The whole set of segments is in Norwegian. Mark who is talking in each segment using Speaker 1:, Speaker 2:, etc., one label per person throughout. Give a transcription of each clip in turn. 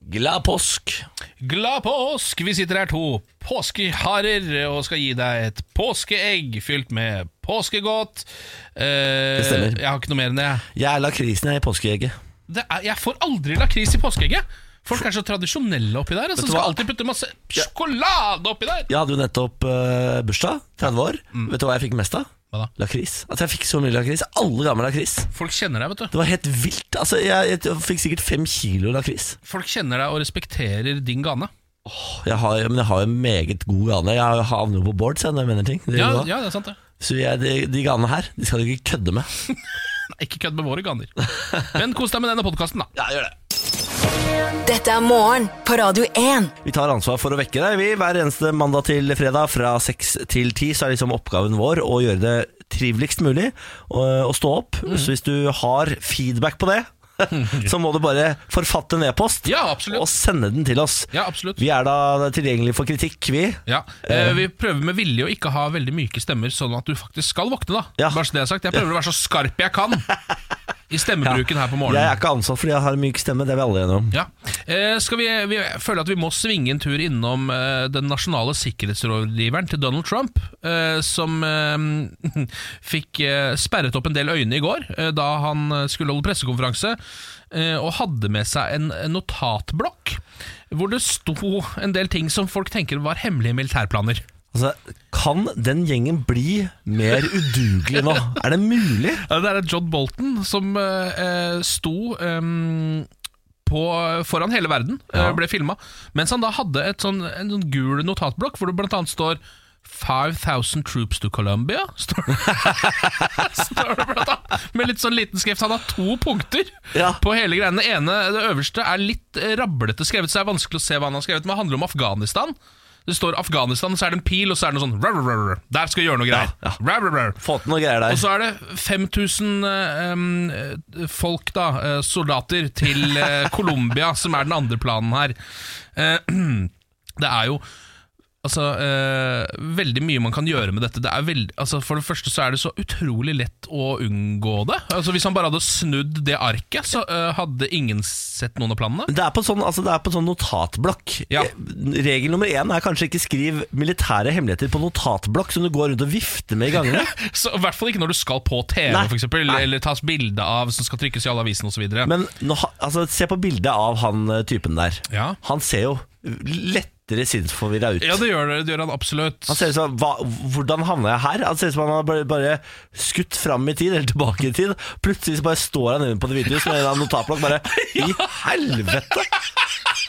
Speaker 1: Glad påsk!
Speaker 2: Glad påsk! Vi sitter her to påskeharer og skal gi deg et påskeegg fylt med påskegodt. Eh,
Speaker 1: Det stemmer.
Speaker 2: Jeg har ikke noe mer enn det. jeg.
Speaker 1: Jeg er lakrisen jeg er i påskeegget.
Speaker 2: det er, jeg får aldri lakris i påskeegget. Folk er så tradisjonelle oppi der. Altså,
Speaker 1: du
Speaker 2: skal
Speaker 1: hva?
Speaker 2: alltid putte masse sjokolade oppi der.
Speaker 1: Jeg hadde jo nettopp eh, bursdag, 30 år. Vet du hva jeg fikk mest av?
Speaker 2: Mm. Hva da?
Speaker 1: Lakris. At jeg fikk så mye lakris. Alle ga meg lakris.
Speaker 2: Folk kjenner deg, vet du.
Speaker 1: Det var helt vilt. Altså, jeg, jeg fikk sikkert fem kilo lakris.
Speaker 2: Folk kjenner deg og respekterer din gane.
Speaker 1: Jeg har, men jeg har jo meget god gane. Jeg havner jo på boards jeg, når jeg mener ting. Det
Speaker 2: Ja,
Speaker 1: gjør jeg.
Speaker 2: ja, det er sant, det.
Speaker 1: Så jeg, de, de ganene her, de skal du ikke kødde med.
Speaker 2: Nei, ikke kødd med våre ganer. Men kos deg med denne podkasten, da.
Speaker 1: Ja, gjør det.
Speaker 3: Dette er morgen på Radio 1.
Speaker 1: Vi tar ansvar for å vekke deg. Vi, hver eneste mandag til fredag fra seks til ti så er liksom oppgaven vår å gjøre det triveligst mulig å, å stå opp.
Speaker 2: Mm.
Speaker 1: Så hvis du har feedback på det, så må du bare forfatte en e-post
Speaker 2: Ja, absolutt.
Speaker 1: og sende den til oss.
Speaker 2: Ja, absolutt.
Speaker 1: Vi er da tilgjengelige for kritikk, vi.
Speaker 2: Ja, eh, Vi prøver med vilje å ikke ha veldig myke stemmer, sånn at du faktisk skal våkne. da
Speaker 1: Ja.
Speaker 2: Bare så det er sagt Jeg prøver å være så skarp jeg kan i stemmebruken her
Speaker 1: Jeg
Speaker 2: på
Speaker 1: er
Speaker 2: morgenen.
Speaker 1: ikke ansatt fordi jeg har en myk stemme, det er vi alle enige om.
Speaker 2: Ja. Eh, skal vi, vi føler at vi må svinge en tur innom eh, den nasjonale sikkerhetsrådgiveren til Donald Trump, eh, som eh, fikk eh, sperret opp en del øyne i går eh, da han eh, skulle holde pressekonferanse, eh, og hadde med seg en, en notatblokk hvor det sto en del ting som folk tenker var hemmelige militærplaner.
Speaker 1: Altså, kan den gjengen bli mer udugelig nå? Er det mulig?
Speaker 2: Ja, det er John Bolton som eh, eh, sto eh, på, foran hele verden, eh,
Speaker 1: Ja.
Speaker 2: ble filma, mens han da hadde et sånn, en sånn gul notatblokk hvor det blant annet står 5000 troops to Colombia, står står det blant annet. Med litt sånn liten skrift. Han har to punkter
Speaker 1: Ja.
Speaker 2: på hele greia. Det ene, det øverste, er litt eh, rablete skrevet, så det er vanskelig å se hva han har skrevet, men det handler om Afghanistan. Det står Afghanistan, så er det en pil, og så er det noe sånn rar, rar, rar, rar. Der skal vi gjøre noe greier.
Speaker 1: Ja, ja.
Speaker 2: Rar, rar, rar.
Speaker 1: Få til noen greier
Speaker 2: Og
Speaker 1: der.
Speaker 2: så er det 5000 eh, em, eh, folk, da, eh, soldater, til eh, Colombia, som er den andre planen her. Eh, det er jo altså, eh, veldig mye man kan gjøre med dette. Det er veld, altså, for det første så er det så utrolig lett å unngå det. Altså, hvis han bare hadde snudd det arket, så eh, hadde ingen sett noen av planene.
Speaker 1: Men Det er på en sånn, altså det er på en sånn notatblokk.
Speaker 2: Ja.
Speaker 1: Eh, Regel nummer én er kanskje ikke skriv militære hemmeligheter på notatblokk som du går rundt og vifter med i gangene.
Speaker 2: Så, I hvert fall ikke når du skal på TV,
Speaker 1: Nei.
Speaker 2: for eksempel,
Speaker 1: Nei.
Speaker 2: eller tas bilde av som skal trykkes i alle avisene osv.
Speaker 1: Men nå, ha- altså, se på bildet av han eh, typen der.
Speaker 2: Ja.
Speaker 1: Han ser jo lettere sinnsforvirra ut.
Speaker 2: Ja, det gjør, det gjør han absolutt.
Speaker 1: Han ser ut som, hva, Hvordan havna jeg her? Han ser ut som han har bare, bare skutt fram i tid, eller tilbake i tid. Plutselig så bare står han inne på Det hvite hus med en eller annen notatblokk bare I helvete!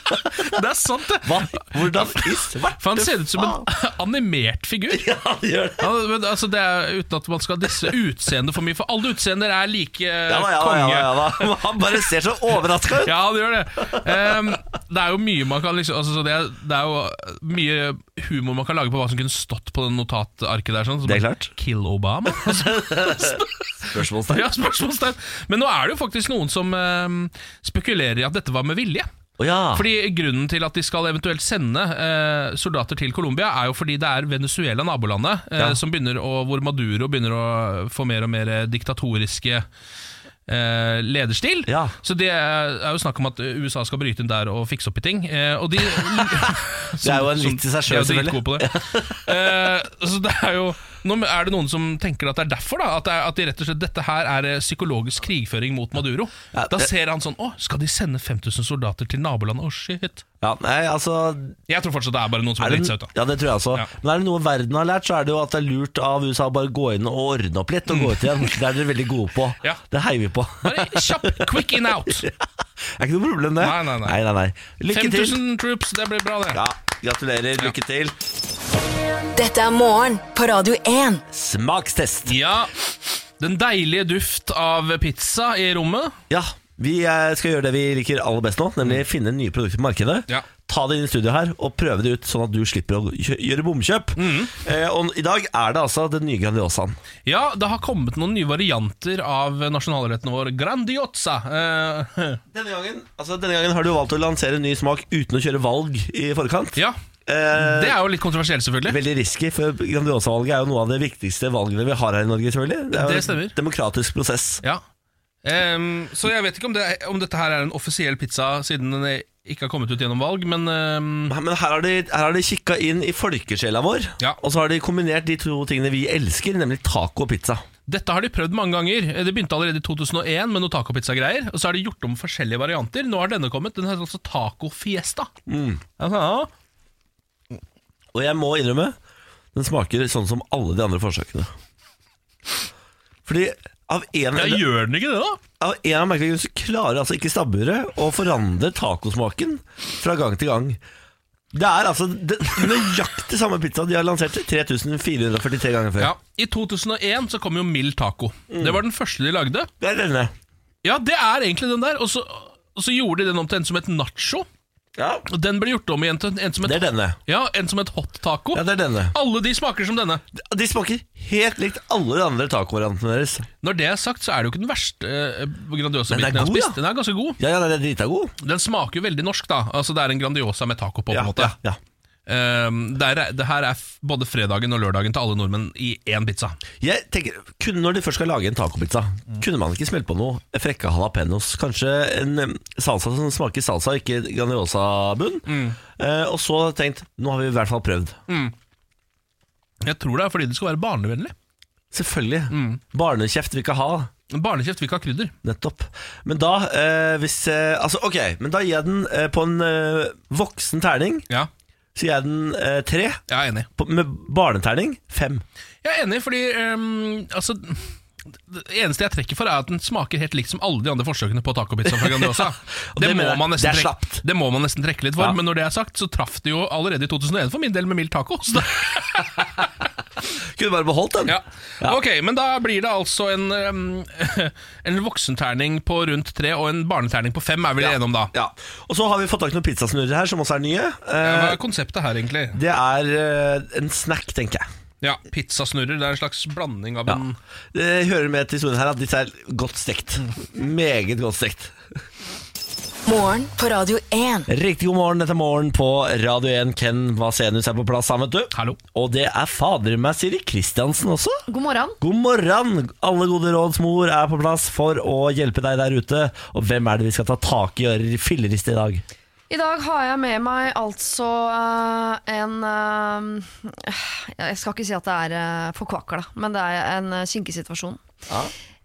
Speaker 2: Det er sant, det!
Speaker 1: Hva? Hvordan i svarte
Speaker 2: For han ser ut som en animert figur.
Speaker 1: Ja, han gjør det.
Speaker 2: Ja, men altså det er Uten at man skal disse utseendet for mye, for alle utseender er like
Speaker 1: Ja da, ja da,
Speaker 2: konge.
Speaker 1: ja da, ja da. Men Han bare ser så overraska ut.
Speaker 2: Ja, det gjør det. Ehm, det er jo mye man kan liksom altså, så det, er, det er jo eh, mye humor man kan lage på hva som kunne stått på den notatarket der. Sånn, så
Speaker 1: Det er
Speaker 2: bare,
Speaker 1: klart.
Speaker 2: Kill Obama? Altså,
Speaker 1: Spørsmålstegn.
Speaker 2: ja, spørsmålstegn. Men nå er det jo faktisk noen som ehm, spekulerer i at dette var med vilje.
Speaker 1: Å ja.
Speaker 2: Fordi Grunnen til at de skal eventuelt sende eh, soldater til Colombia, er jo fordi det er Venezuela, nabolandet, eh,
Speaker 1: Ja.
Speaker 2: som begynner å, hvor Maduro begynner å få mer og mer diktatoriske eh, lederstil.
Speaker 1: Ja.
Speaker 2: Så det er jo snakk om at eh, USA skal bryte inn der og fikse opp i ting. Eh, og de, det
Speaker 1: jo en vits i seg selv, selvfølgelig.
Speaker 2: på det. Eh, så det er jo nå er det noen som tenker at det er derfor, da? At, det er, at de rett og slett, dette her er eh, psykologisk krigføring mot Maduro.
Speaker 1: Ja,
Speaker 2: da
Speaker 1: det-
Speaker 2: ser han sånn Å, skal de sende 5000 soldater til nabolandet? Å, shit.
Speaker 1: ja. Nei, altså
Speaker 2: Jeg tror fortsatt det er bare noen som har
Speaker 1: er
Speaker 2: dritt
Speaker 1: det,
Speaker 2: seg ut, da.
Speaker 1: Ja, det tror jeg også.
Speaker 2: Ja.
Speaker 1: Men er det noe verden har lært, så er det jo at det er lurt av USA å bare gå inn og ordne opp litt, og gå ut igjen. Det er dere veldig gode på.
Speaker 2: Mm. Ja.
Speaker 1: Det heier vi på.
Speaker 2: Bare kjapp, quick in out!
Speaker 1: Er ikke noe problem, det.
Speaker 2: Nei, nei, nei.
Speaker 1: nei, nei. Lykke til.
Speaker 2: 5000 troops, det blir bra, det.
Speaker 1: Ja, gratulerer. Lykke til.
Speaker 3: Dette er morgen på Radio 1.
Speaker 1: Smakstest.
Speaker 2: ja. Den deilige duft av pizza i rommet.
Speaker 1: Ja, vi eh, skal gjøre det vi liker aller best nå, nemlig finne nye produkter på markedet.
Speaker 2: Mm. Ja.
Speaker 1: Ta det inn i studio her og prøve det ut, sånn at du slipper å kjø- gjøre bomkjøp.
Speaker 2: Mm.
Speaker 1: Eh, og i dag er det altså den nye Grandiosaen.
Speaker 2: Ja, det har kommet noen nye varianter av nasjonalretten vår, grandiosa. Eh,
Speaker 1: Denne gangen, altså, denne gangen har du valgt å lansere en ny smak uten å kjøre valg i forkant.
Speaker 2: ja,
Speaker 1: Eh,
Speaker 2: det er jo litt kontroversielt, selvfølgelig.
Speaker 1: Veldig risky, for Grandiosa-valget er jo noe av det viktigste valgene vi har her i Norge. selvfølgelig Det er jo
Speaker 2: Det stemmer.
Speaker 1: en demokratisk prosess.
Speaker 2: Ja. Ehm, så jeg vet ikke om, det, om dette her er en offisiell pizza, siden den ikke har kommet ut gjennom valg, men eh,
Speaker 1: Nei, Men her har de, her har de kikka inn i folkesjela vår,
Speaker 2: Ja.
Speaker 1: og så har de kombinert de to tingene vi elsker, nemlig taco og pizza.
Speaker 2: Dette har de prøvd mange ganger. Det begynte allerede i 2001 med noe tacopizza-greier. Og så har de gjort om forskjellige varianter. Nå har denne kommet. Den heter altså Taco Fiesta. Altså, ja.
Speaker 1: Og jeg må innrømme, den smaker sånn som alle de andre forsøkene. Fordi av en
Speaker 2: ja,
Speaker 1: eller
Speaker 2: gjør den ikke det, da?
Speaker 1: av en av merkelige grunner så klarer altså ikke stabburet å forandre tacosmaken fra gang til gang. Det er altså det, nøyaktig samme pizza de har lansert 3443 ganger før.
Speaker 2: Ja. Mm. I 2001 så kom jo Mild Taco. Det var den første de lagde.
Speaker 1: Det er denne.
Speaker 2: Ja, det er egentlig den der. Og så, og så gjorde de den om til en som het nacho.
Speaker 1: Ja,
Speaker 2: Og den ble gjort om igjen til en som
Speaker 1: det
Speaker 2: het,
Speaker 1: er denne.
Speaker 2: ja, en som het hot taco.
Speaker 1: Ja, det er denne.
Speaker 2: Alle de smaker som denne.
Speaker 1: De smaker helt likt alle de andre tacovariantene deres.
Speaker 2: Når det er sagt, så er det jo ikke den verste eh, Grandiosa
Speaker 1: Men den er
Speaker 2: biten jeg har
Speaker 1: god,
Speaker 2: spist.
Speaker 1: da.
Speaker 2: Den er ganske god.
Speaker 1: Ja, ja, den er drita god.
Speaker 2: Den smaker jo veldig norsk, da. Altså, det er en Grandiosa med taco på, på en
Speaker 1: Ja,
Speaker 2: måte.
Speaker 1: ja, ja.
Speaker 2: Ehm, det, er, det her er f- både fredagen og lørdagen til alle nordmenn i én pizza.
Speaker 1: Jeg tenker, kun Når de først skal lage en tacopizza, kunne man ikke smelt på noe frekke jalapeños? Kanskje en em, salsa som smaker salsa, ikke Grandiosa-bunn?
Speaker 2: Mm.
Speaker 1: Eh, og så tenkt nå har vi i hvert fall prøvd.
Speaker 2: Jeg tror det er fordi det skal være barnevennlig.
Speaker 1: Selvfølgelig.
Speaker 2: Mm.
Speaker 1: Barnekjeft vil ikke ha.
Speaker 2: Barnekjeft vil ikke ha krydder.
Speaker 1: Nettopp. Men da eh, hvis eh, Altså, ok, men da gir jeg den eh, på en eh, voksen terning.
Speaker 2: Ja,
Speaker 1: Så gir jeg den eh, tre.
Speaker 2: jeg er enig.
Speaker 1: På, med barneterning fem.
Speaker 2: Jeg er enig fordi ehm, altså, Det eneste jeg trekker for, er at den smaker helt likt som alle de andre forsøkene på tacopizza fra Grandiosa.
Speaker 1: og det
Speaker 2: det, må
Speaker 1: mener jeg,
Speaker 2: man nesten
Speaker 1: det er
Speaker 2: trekke-
Speaker 1: slapt.
Speaker 2: det må man nesten trekke litt for,
Speaker 1: Ja.
Speaker 2: men når det er sagt, så traff det jo allerede i 2001 for min del med mild taco. Så da
Speaker 1: Kunne bare beholdt den.
Speaker 2: Ja. Ok, men da blir det altså en, um, en voksenterning på rundt tre og en barneterning på fem, er vi enige om da?
Speaker 1: Ja. Og så har vi fått tak i noen pizzasnurrer her, som også er nye. Eh,
Speaker 2: Hva er konseptet her, egentlig?
Speaker 1: Det er eh, en snack, tenker jeg.
Speaker 2: Ja, Pizzasnurrer. Det er en slags blanding av en
Speaker 1: Det hører med til historien her at disse er godt stekt. Meget godt stekt.
Speaker 3: Morgen på Radio 1.
Speaker 1: Riktig god morgen dette er morgen på Radio 1. Ken Vasenus er på plass sammen, vet du.
Speaker 2: Hallo.
Speaker 1: Og det er fader meg Siri Kristiansen også.
Speaker 4: God morgen.
Speaker 1: God morgen! Alle gode råds mor er på plass for å hjelpe deg der ute. Og hvem er det vi skal ta tak i og gjøre filleriste i dag?
Speaker 4: I dag har jeg med meg altså eh, en eh, Jeg skal ikke si at det er eh, forkvakla, men det er en eh, kinkesituasjon.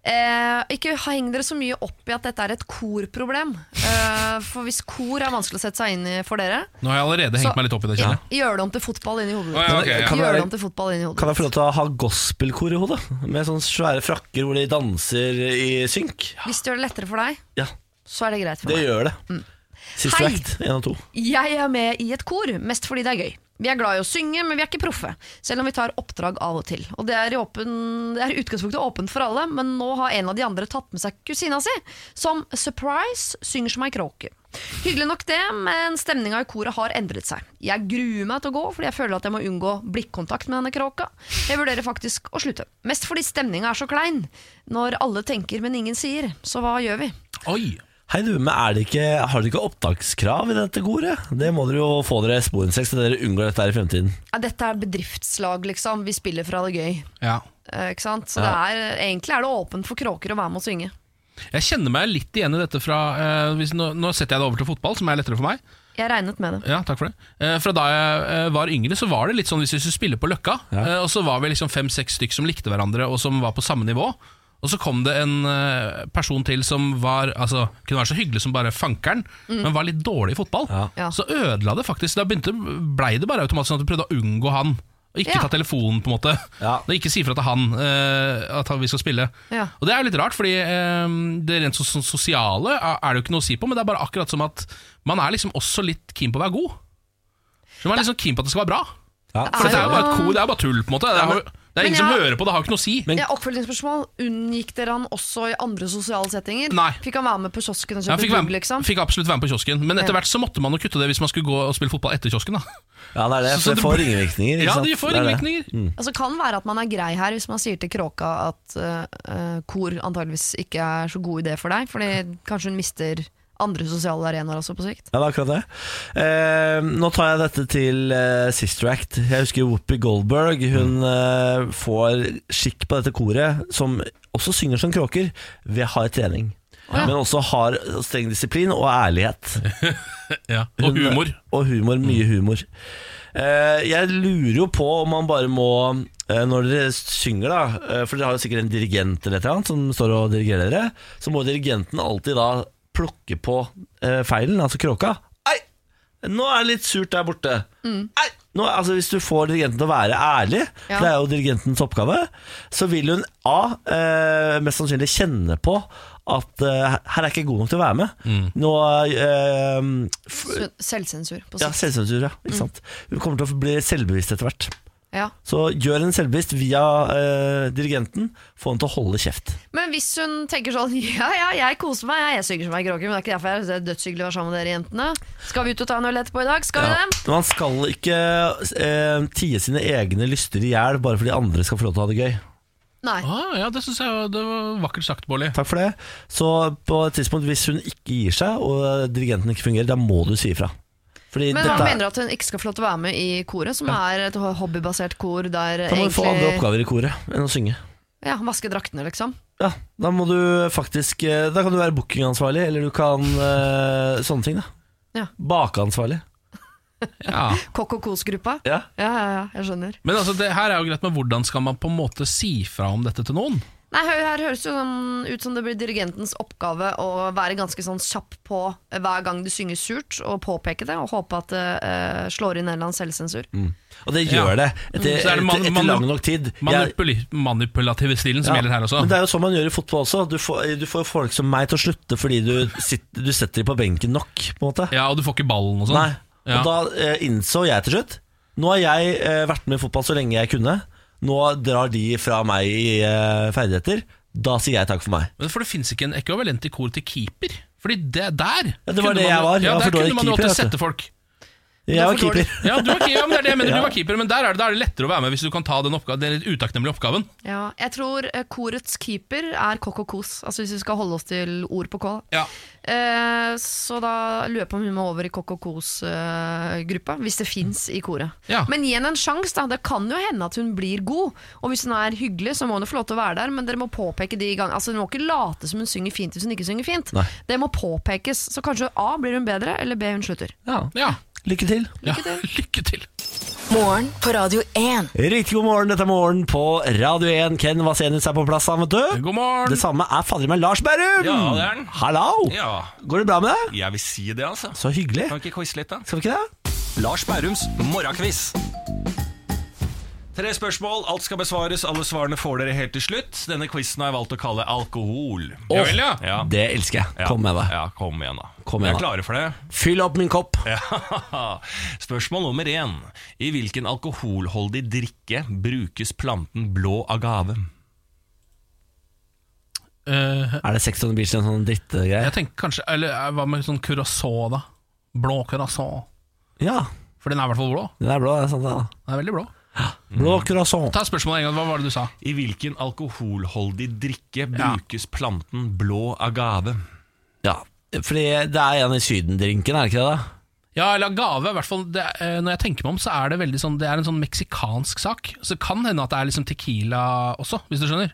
Speaker 4: Eh, ikke heng dere så mye opp i at dette er et korproblem. Eh, for hvis kor er vanskelig å sette seg inn i for dere,
Speaker 2: Nå har jeg allerede hengt meg litt opp i det. kjenner jeg.
Speaker 4: gjør det om til fotball inni hodet.
Speaker 2: Å, ja, ok, ja.
Speaker 1: Kan det
Speaker 4: Gjør
Speaker 1: være-
Speaker 4: det om til fotball inni hodet.
Speaker 1: Kan jeg få lov til å ha gospelkor i hodet? Med sånne svære frakker hvor de danser i synk?
Speaker 4: Hvis det gjør det lettere for deg,
Speaker 1: Ja,
Speaker 4: så er det greit for
Speaker 1: det
Speaker 4: meg.
Speaker 1: gjør det.
Speaker 2: Mm.
Speaker 1: Siste
Speaker 4: Hei.
Speaker 1: vekt, én og to.
Speaker 4: Jeg er med i et kor, mest fordi det er gøy. Vi er glad i å synge, men vi er ikke proffe, selv om vi tar oppdrag av og til. Og det er i åpen, det er i utgangspunktet åpent for alle, men nå har en av de andre tatt med seg kusina si, som surprise synger som ei kråke. Hyggelig nok det, men stemninga i koret har endret seg. Jeg gruer meg til å gå, fordi jeg føler at jeg må unngå blikkontakt med denne kråka. Jeg vurderer faktisk å slutte. Mest fordi stemninga er så klein. Når alle tenker, men ingen sier, så hva gjør vi?
Speaker 2: Oi!
Speaker 1: Hei du, men er det ikke, Har dere ikke opptakskrav i dette koret? Det må dere jo få dere sporenstreks, så dere unngår dette her i fremtiden.
Speaker 4: Ja, dette er bedriftslag, liksom. Vi spiller for å ha det gøy.
Speaker 2: Ja.
Speaker 4: Eh, Ikke sant? Så det er, egentlig er det åpent for kråker å være med og synge.
Speaker 2: Jeg kjenner meg litt igjen i dette fra eh, hvis, nå, nå setter jeg det over til fotball, som er lettere for meg.
Speaker 4: Jeg regnet med det.
Speaker 2: Ja, takk for det. Eh, fra da jeg eh, var yngre, så var det litt sånn hvis vi skulle spille på Løkka, eh, og så var vi liksom fem-seks stykk som likte hverandre, og som var på samme nivå. Og så kom det en eh, person til som var altså, kunne være så hyggelig som bare fankeren, men var litt dårlig i fotball.
Speaker 4: Mm. Ja.
Speaker 2: Så ødela det faktisk. Da begynte, blei det bare automatisk sånn at du prøvde å unngå han. Og ikke
Speaker 4: Ja.
Speaker 2: ta telefonen, på en måte.
Speaker 1: Ja.
Speaker 2: Og ikke si ifra til han eh, at han- vi skal spille.
Speaker 4: Ja.
Speaker 2: Og det er jo litt rart, fordi eh, det rent so so- sosiale er er det jo ikke noe å si på, men det er bare akkurat som at man er liksom også litt keen på å være god. Så man er liksom keen på at det skal være bra.
Speaker 1: Ja,
Speaker 4: Det er
Speaker 2: For det er jo
Speaker 4: jo-
Speaker 2: bare, et ko, det er bare tull, på en måte. Det er, jo- det er
Speaker 4: men
Speaker 2: ingen som
Speaker 4: jeg-
Speaker 2: hører på, det har jo ikke noe å si.
Speaker 1: Men-
Speaker 4: Ja, oppfølgingsspørsmål. Unngikk dere han også i andre sosiale settinger?
Speaker 2: Nei.
Speaker 4: Fikk han være med på kiosken og
Speaker 2: Ja,
Speaker 4: kjøpe
Speaker 2: fikk,
Speaker 4: ja,
Speaker 2: være,
Speaker 4: gull, liksom?
Speaker 2: fikk absolutt være med på kiosken, men etter
Speaker 4: Ja.
Speaker 2: hvert så måtte man jo kutte det hvis man skulle gå og spille fotball etter kiosken. da
Speaker 1: ja det er det. For
Speaker 2: Så- så det
Speaker 1: det får
Speaker 2: blir-
Speaker 1: ringvirkninger. ikke
Speaker 2: Ja,
Speaker 1: sant?
Speaker 2: det får
Speaker 1: er det.
Speaker 2: ringvirkninger.
Speaker 4: Altså, kan være at man er grei her hvis man sier til kråka at eh, eh, kor antageligvis ikke er så god idé for deg, fordi kanskje hun mister andre sosiale arenaer også på sikt.
Speaker 1: Ja, det er akkurat det. Eh, nå tar jeg dette til eh, Sister Act. Jeg husker Whoopi Goldberg.
Speaker 2: Mm.
Speaker 1: Hun eh, får skikk på dette koret, som også synger som kråker, ved hard trening. men også har streng disiplin og ærlighet.
Speaker 2: Ja. Og
Speaker 1: Hun-
Speaker 2: humor. Mm.
Speaker 1: Og humor, mye humor. Eh, jeg lurer jo på om man bare må eh, Når dere synger, da eh, for dere har jo sikkert en dirigent eller et eller annet som står og dirigerer dere, så må dirigenten alltid da plukke på eh, feilen, altså kråka. Ei! Nå er det litt surt der borte. Ei! Nå, altså Hvis du får dirigenten til å være ærlig,
Speaker 4: Ja.
Speaker 1: for det er jo dirigentens oppgave, så vil hun A. Eh, mest sannsynlig kjenne på at eh, her er jeg ikke god nok til å være med.
Speaker 2: Mm.
Speaker 1: Nå eh, f
Speaker 4: Så Selvsensur. På
Speaker 1: ja,
Speaker 4: sikt. Mm.
Speaker 1: selvsensur, ja. Ikke sant? Hun kommer til å bli selvbevisst etter hvert.
Speaker 4: Ja.
Speaker 1: Så gjør en selvbevisst via eh, dirigenten. Få henne til å holde kjeft.
Speaker 4: Men hvis hun tenker sånn Ja, ja, jeg koser meg, jeg, jeg synger som ei kråke, men det er ikke derfor jeg det er dødshyggelig å være sammen med dere jentene. Skal vi ut og ta en øl etterpå i dag? Skal vi
Speaker 1: Ja.
Speaker 4: det?
Speaker 1: Man skal ikke eh, tie sine egne lyster i hjel bare fordi andre skal få lov til å ha det gøy.
Speaker 4: Nei.
Speaker 2: Ah, ja, det syns jeg var- det var vakkert sagt, Bolly.
Speaker 1: Takk for det. Så på et tidspunkt, hvis hun ikke gir seg, og dirigenten ikke fungerer, da må du si ifra. Fordi
Speaker 4: Men han
Speaker 1: dette er-
Speaker 4: mener at hun ikke skal få lov til å være med i koret, som er et hobbybasert kor der
Speaker 1: da må du få andre
Speaker 4: egentlig
Speaker 1: oppgaver i koret enn å synge.
Speaker 4: Ja, Vaske draktene, liksom.
Speaker 1: Ja, Da må du faktisk eh, Da kan du være bookingansvarlig, eller du kan eh, sånne ting. da
Speaker 4: Ja.
Speaker 1: Bakeansvarlig.
Speaker 2: Ja.
Speaker 4: Kokk og kos-gruppa.
Speaker 1: Ja.
Speaker 4: Ja, ja, ja, jeg skjønner.
Speaker 2: Men altså, det her er jo greit, men hvordan skal man på en måte si fra om dette til noen?
Speaker 4: Nei, hø- her høres jo sånn ut som det blir dirigentens oppgave å være ganske sånn kjapp på hver gang du synger surt, og påpeke det, og håpe at det eh, slår inn en eller annen selvsensur.
Speaker 1: Mm. Og det gjør
Speaker 2: Ja. Mm.
Speaker 1: det etter,
Speaker 2: Så er det man-
Speaker 1: etter, etter
Speaker 2: manu-
Speaker 1: lang nok tid. Jeg-
Speaker 2: Manipuli manipulative stilen som
Speaker 1: ja.
Speaker 2: gjelder her også.
Speaker 1: Men det er jo sånn man gjør i fotball også. Du får, du får folk som meg til å slutte fordi du, sitter, du setter dem på benken nok. På en måte
Speaker 2: Ja, og du får ikke ballen og sånn.
Speaker 1: Nei.
Speaker 2: Ja.
Speaker 1: Og da eh, innså jeg til slutt Nå har jeg eh, vært med i fotball så lenge jeg kunne. Nå drar de fra meg i eh, ferdigheter. Da sier jeg takk for meg.
Speaker 2: Men For det fins ikke en ekvivalent i kor til keeper. Fordi det der
Speaker 1: Ja, det var
Speaker 2: kunne
Speaker 1: det
Speaker 2: man-
Speaker 1: jeg var. Jeg
Speaker 2: Ja,
Speaker 1: var
Speaker 2: der
Speaker 1: for dårlig
Speaker 2: kunne man jo
Speaker 1: keeper, vet
Speaker 2: alltid
Speaker 1: du.
Speaker 2: sette folk.
Speaker 1: Jeg var
Speaker 4: for dårlig.
Speaker 1: keeper.
Speaker 2: Ja, du var, keeper, ja, men det er det jeg mener,
Speaker 1: Ja.
Speaker 2: du var keeper, men der er det, da er det lettere å være med hvis du kan ta den, oppga- den litt utakknemlige oppgaven.
Speaker 4: Ja, jeg tror eh, korets keeper er kokk og kos, altså hvis vi skal holde oss til ord på K.
Speaker 2: Ja.
Speaker 4: Eh, så da lurer jeg på om hun må over i kokk og kos-gruppa, hvis det fins i koret.
Speaker 2: Ja.
Speaker 4: Men gi henne en sjanse, da. Det kan jo hende at hun blir god. Og hvis hun er hyggelig, så må hun jo få lov til å være der, men dere må påpeke de gang Altså Hun må ikke late som hun synger fint hvis hun ikke synger fint.
Speaker 1: Nei.
Speaker 4: Det må påpekes. Så kanskje A blir hun bedre, eller B hun slutter.
Speaker 1: Ja.
Speaker 2: Ja.
Speaker 1: Lykke til.
Speaker 2: Lykke til. Ja, lykke til.
Speaker 3: Morgen på Radio 1.
Speaker 1: Riktig god morgen, dette er morgen på Radio 1. Ken Vasenius er på plass, han, vet du.
Speaker 2: God
Speaker 1: Det
Speaker 2: morgen.
Speaker 1: samme er fader meg Lars Berrum!
Speaker 5: Ja, det er den.
Speaker 1: Hallo!
Speaker 5: Ja.
Speaker 1: Går det bra med deg?
Speaker 5: Jeg vil si det, altså.
Speaker 1: Så hyggelig.
Speaker 5: Kan vi ikke quize litt, da?
Speaker 1: Skal vi ikke det?
Speaker 5: Lars Bærums morgenkviss. Tre spørsmål, alt skal besvares, alle svarene får dere helt til slutt. Denne quizen har jeg valgt å kalle Alkohol.
Speaker 2: Ja vel, ja.
Speaker 5: Ja.
Speaker 1: Det elsker jeg. Kom med det.
Speaker 5: Ja, kom igjen, da.
Speaker 1: Kom igjen, da.
Speaker 5: Er dere klare for det?
Speaker 1: Fyll opp min kopp.
Speaker 5: Ja. Spørsmål nummer én. I hvilken alkoholholdig drikke brukes planten blå agave?
Speaker 2: Eh,
Speaker 1: Er det 600 Beach en sånn drittgreie?
Speaker 2: jeg tenker kanskje Eller eh, hva med sånn curacao, da? Blå curacao.
Speaker 1: Ja,
Speaker 2: For den er i hvert fall blå.
Speaker 1: den er blå. Det er sant, det da.
Speaker 2: Den er veldig blå. Mm.
Speaker 1: Blå sånn. croissant.
Speaker 2: Ta spørsmålet en gang. Hva var det du sa?
Speaker 5: I hvilken alkoholholdig drikke
Speaker 2: Ja.
Speaker 5: brukes planten blå agave?
Speaker 1: Ja, fordi det er en i Syden-drinken, er det ikke det? da?
Speaker 2: Ja, eller agave. i hvert fall det, eh, Når jeg tenker meg om, så er det veldig sånn Det er en sånn meksikansk sak. Så det kan hende at det er liksom tequila også, hvis du skjønner.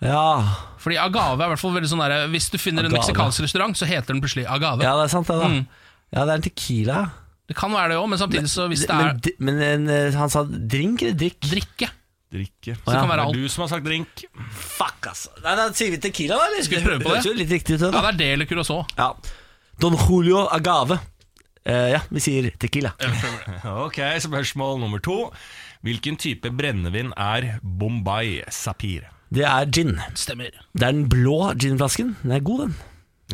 Speaker 1: Ja,
Speaker 2: Fordi agave er i hvert fall veldig sånn der, Hvis du finner en
Speaker 1: Agave.
Speaker 2: meksikansk restaurant, så heter den plutselig agave.
Speaker 1: ja det er sant, det, da. Ja, det er en tequila.
Speaker 2: Det kan være det òg, men samtidig så Mm. hvis det
Speaker 1: Men,
Speaker 2: er
Speaker 1: di- men en, eh, han sa drink eller drikk?
Speaker 2: drikke
Speaker 5: Drikke.
Speaker 2: Så det kan
Speaker 5: Det
Speaker 2: være
Speaker 5: er
Speaker 2: alt.
Speaker 5: du som har sagt drink.
Speaker 1: Fuck, altså. Nei, da sier vi tequila, da. eller?
Speaker 2: Skal vi prøve på
Speaker 1: høres
Speaker 2: det?
Speaker 1: jo litt riktig ut, det, da.
Speaker 2: Ja, det er det eller curacao.
Speaker 1: Ja. Don Julio Agave. Eh, ja, vi sier tequila.
Speaker 5: Ok, spørsmål nummer to. Hvilken type brennevin er Bombay Sapir?
Speaker 1: Det er gin.
Speaker 2: Stemmer.
Speaker 1: Det er den blå ginflasken. Den er god, den.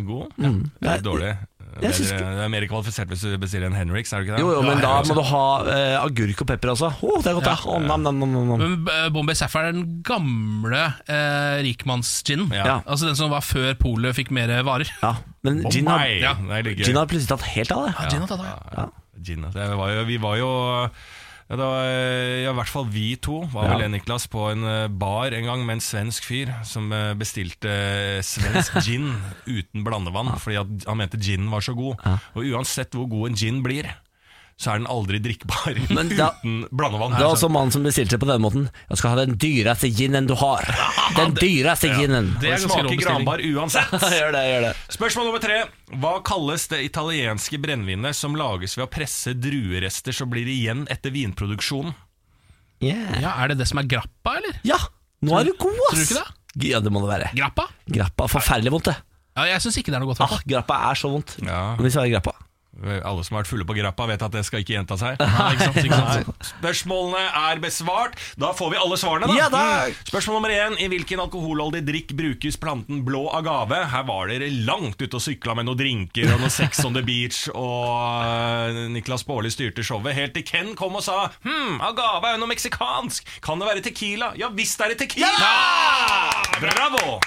Speaker 5: God? Ja, det er dårlig. Det
Speaker 1: Mm. Jeg
Speaker 5: er,
Speaker 1: syns ikke-
Speaker 5: det er mer kvalifisert hvis du bestiller en Henriks, er det ikke det?
Speaker 1: Jo, jo, men
Speaker 2: Ja,
Speaker 1: da
Speaker 2: ja, altså.
Speaker 1: må du ha eh, agurk og pepper også. Å, det er godt, da. Å, nam, nam, nam, nam, nam.
Speaker 2: Men eh, Bombay Sapphire er den gamle eh, rikmannsginen.
Speaker 1: Ja.
Speaker 2: Altså den som var før polet fikk mer varer.
Speaker 1: Ja, men gin har,
Speaker 5: Bombay!
Speaker 2: Ja.
Speaker 5: Det er like gøy.
Speaker 1: gin har plutselig tatt helt av, det.
Speaker 2: Ja, gin og tata, ja.
Speaker 5: Gin, altså. Det var jo, vi var jo ja, det var, ja, I hvert fall vi to var vel en, Niklas på en eh, bar en gang med en svensk fyr som eh, bestilte eh, svensk gin uten blandevann fordi at han mente ginen var så god. Og uansett hvor god en gin blir, så er den aldri drikkbar
Speaker 1: Men da-
Speaker 5: uten blandevann.
Speaker 1: Det altså- var også mannen som bestilte på denne måten. Jeg skal ha den dyreste ginen du har. Den dyreste ginen.
Speaker 2: Det
Speaker 5: det
Speaker 2: er ganske rå
Speaker 5: smaker
Speaker 2: bestilling.
Speaker 5: granbar uansett.
Speaker 1: Gjør det, gjør det.
Speaker 5: Spørsmål nummer tre. Hva kalles det italienske brennevinet som lages ved å presse druerester som blir igjen etter vinproduksjonen?
Speaker 1: Yeah.
Speaker 2: Ja, Er det det som er grappa, eller?
Speaker 1: Ja, nå er du god, ass!
Speaker 2: Tror du ikke
Speaker 1: Ja, det må det være.
Speaker 2: Grappa?
Speaker 1: Grappa er forferdelig vondt, det.
Speaker 2: Ja, jeg syns ikke det er noe godt.
Speaker 1: Ah,
Speaker 2: grappa.
Speaker 1: grappa er så vondt.
Speaker 5: Ja.
Speaker 1: Hvis jeg har grappa.
Speaker 5: Alle som har vært fulle på grappa, vet at det skal ikke gjenta seg.
Speaker 2: Ah, Nei, ikke sant, ikke sant.
Speaker 5: Spørsmålene er besvart. Da får vi alle svarene, da. Mm.
Speaker 1: Ja, da.
Speaker 5: Spørsmål nummer én. I hvilken alkoholholdig drikk brukes planten blå agave? Her var dere langt ute og sykla med noen drinker og noe sex on the beach, og eh, Niklas Baarli styrte showet helt til Ken kom og sa Hm, agave er jo noe meksikansk. Kan det være tequila? Ja visst er det tequila! Bravo!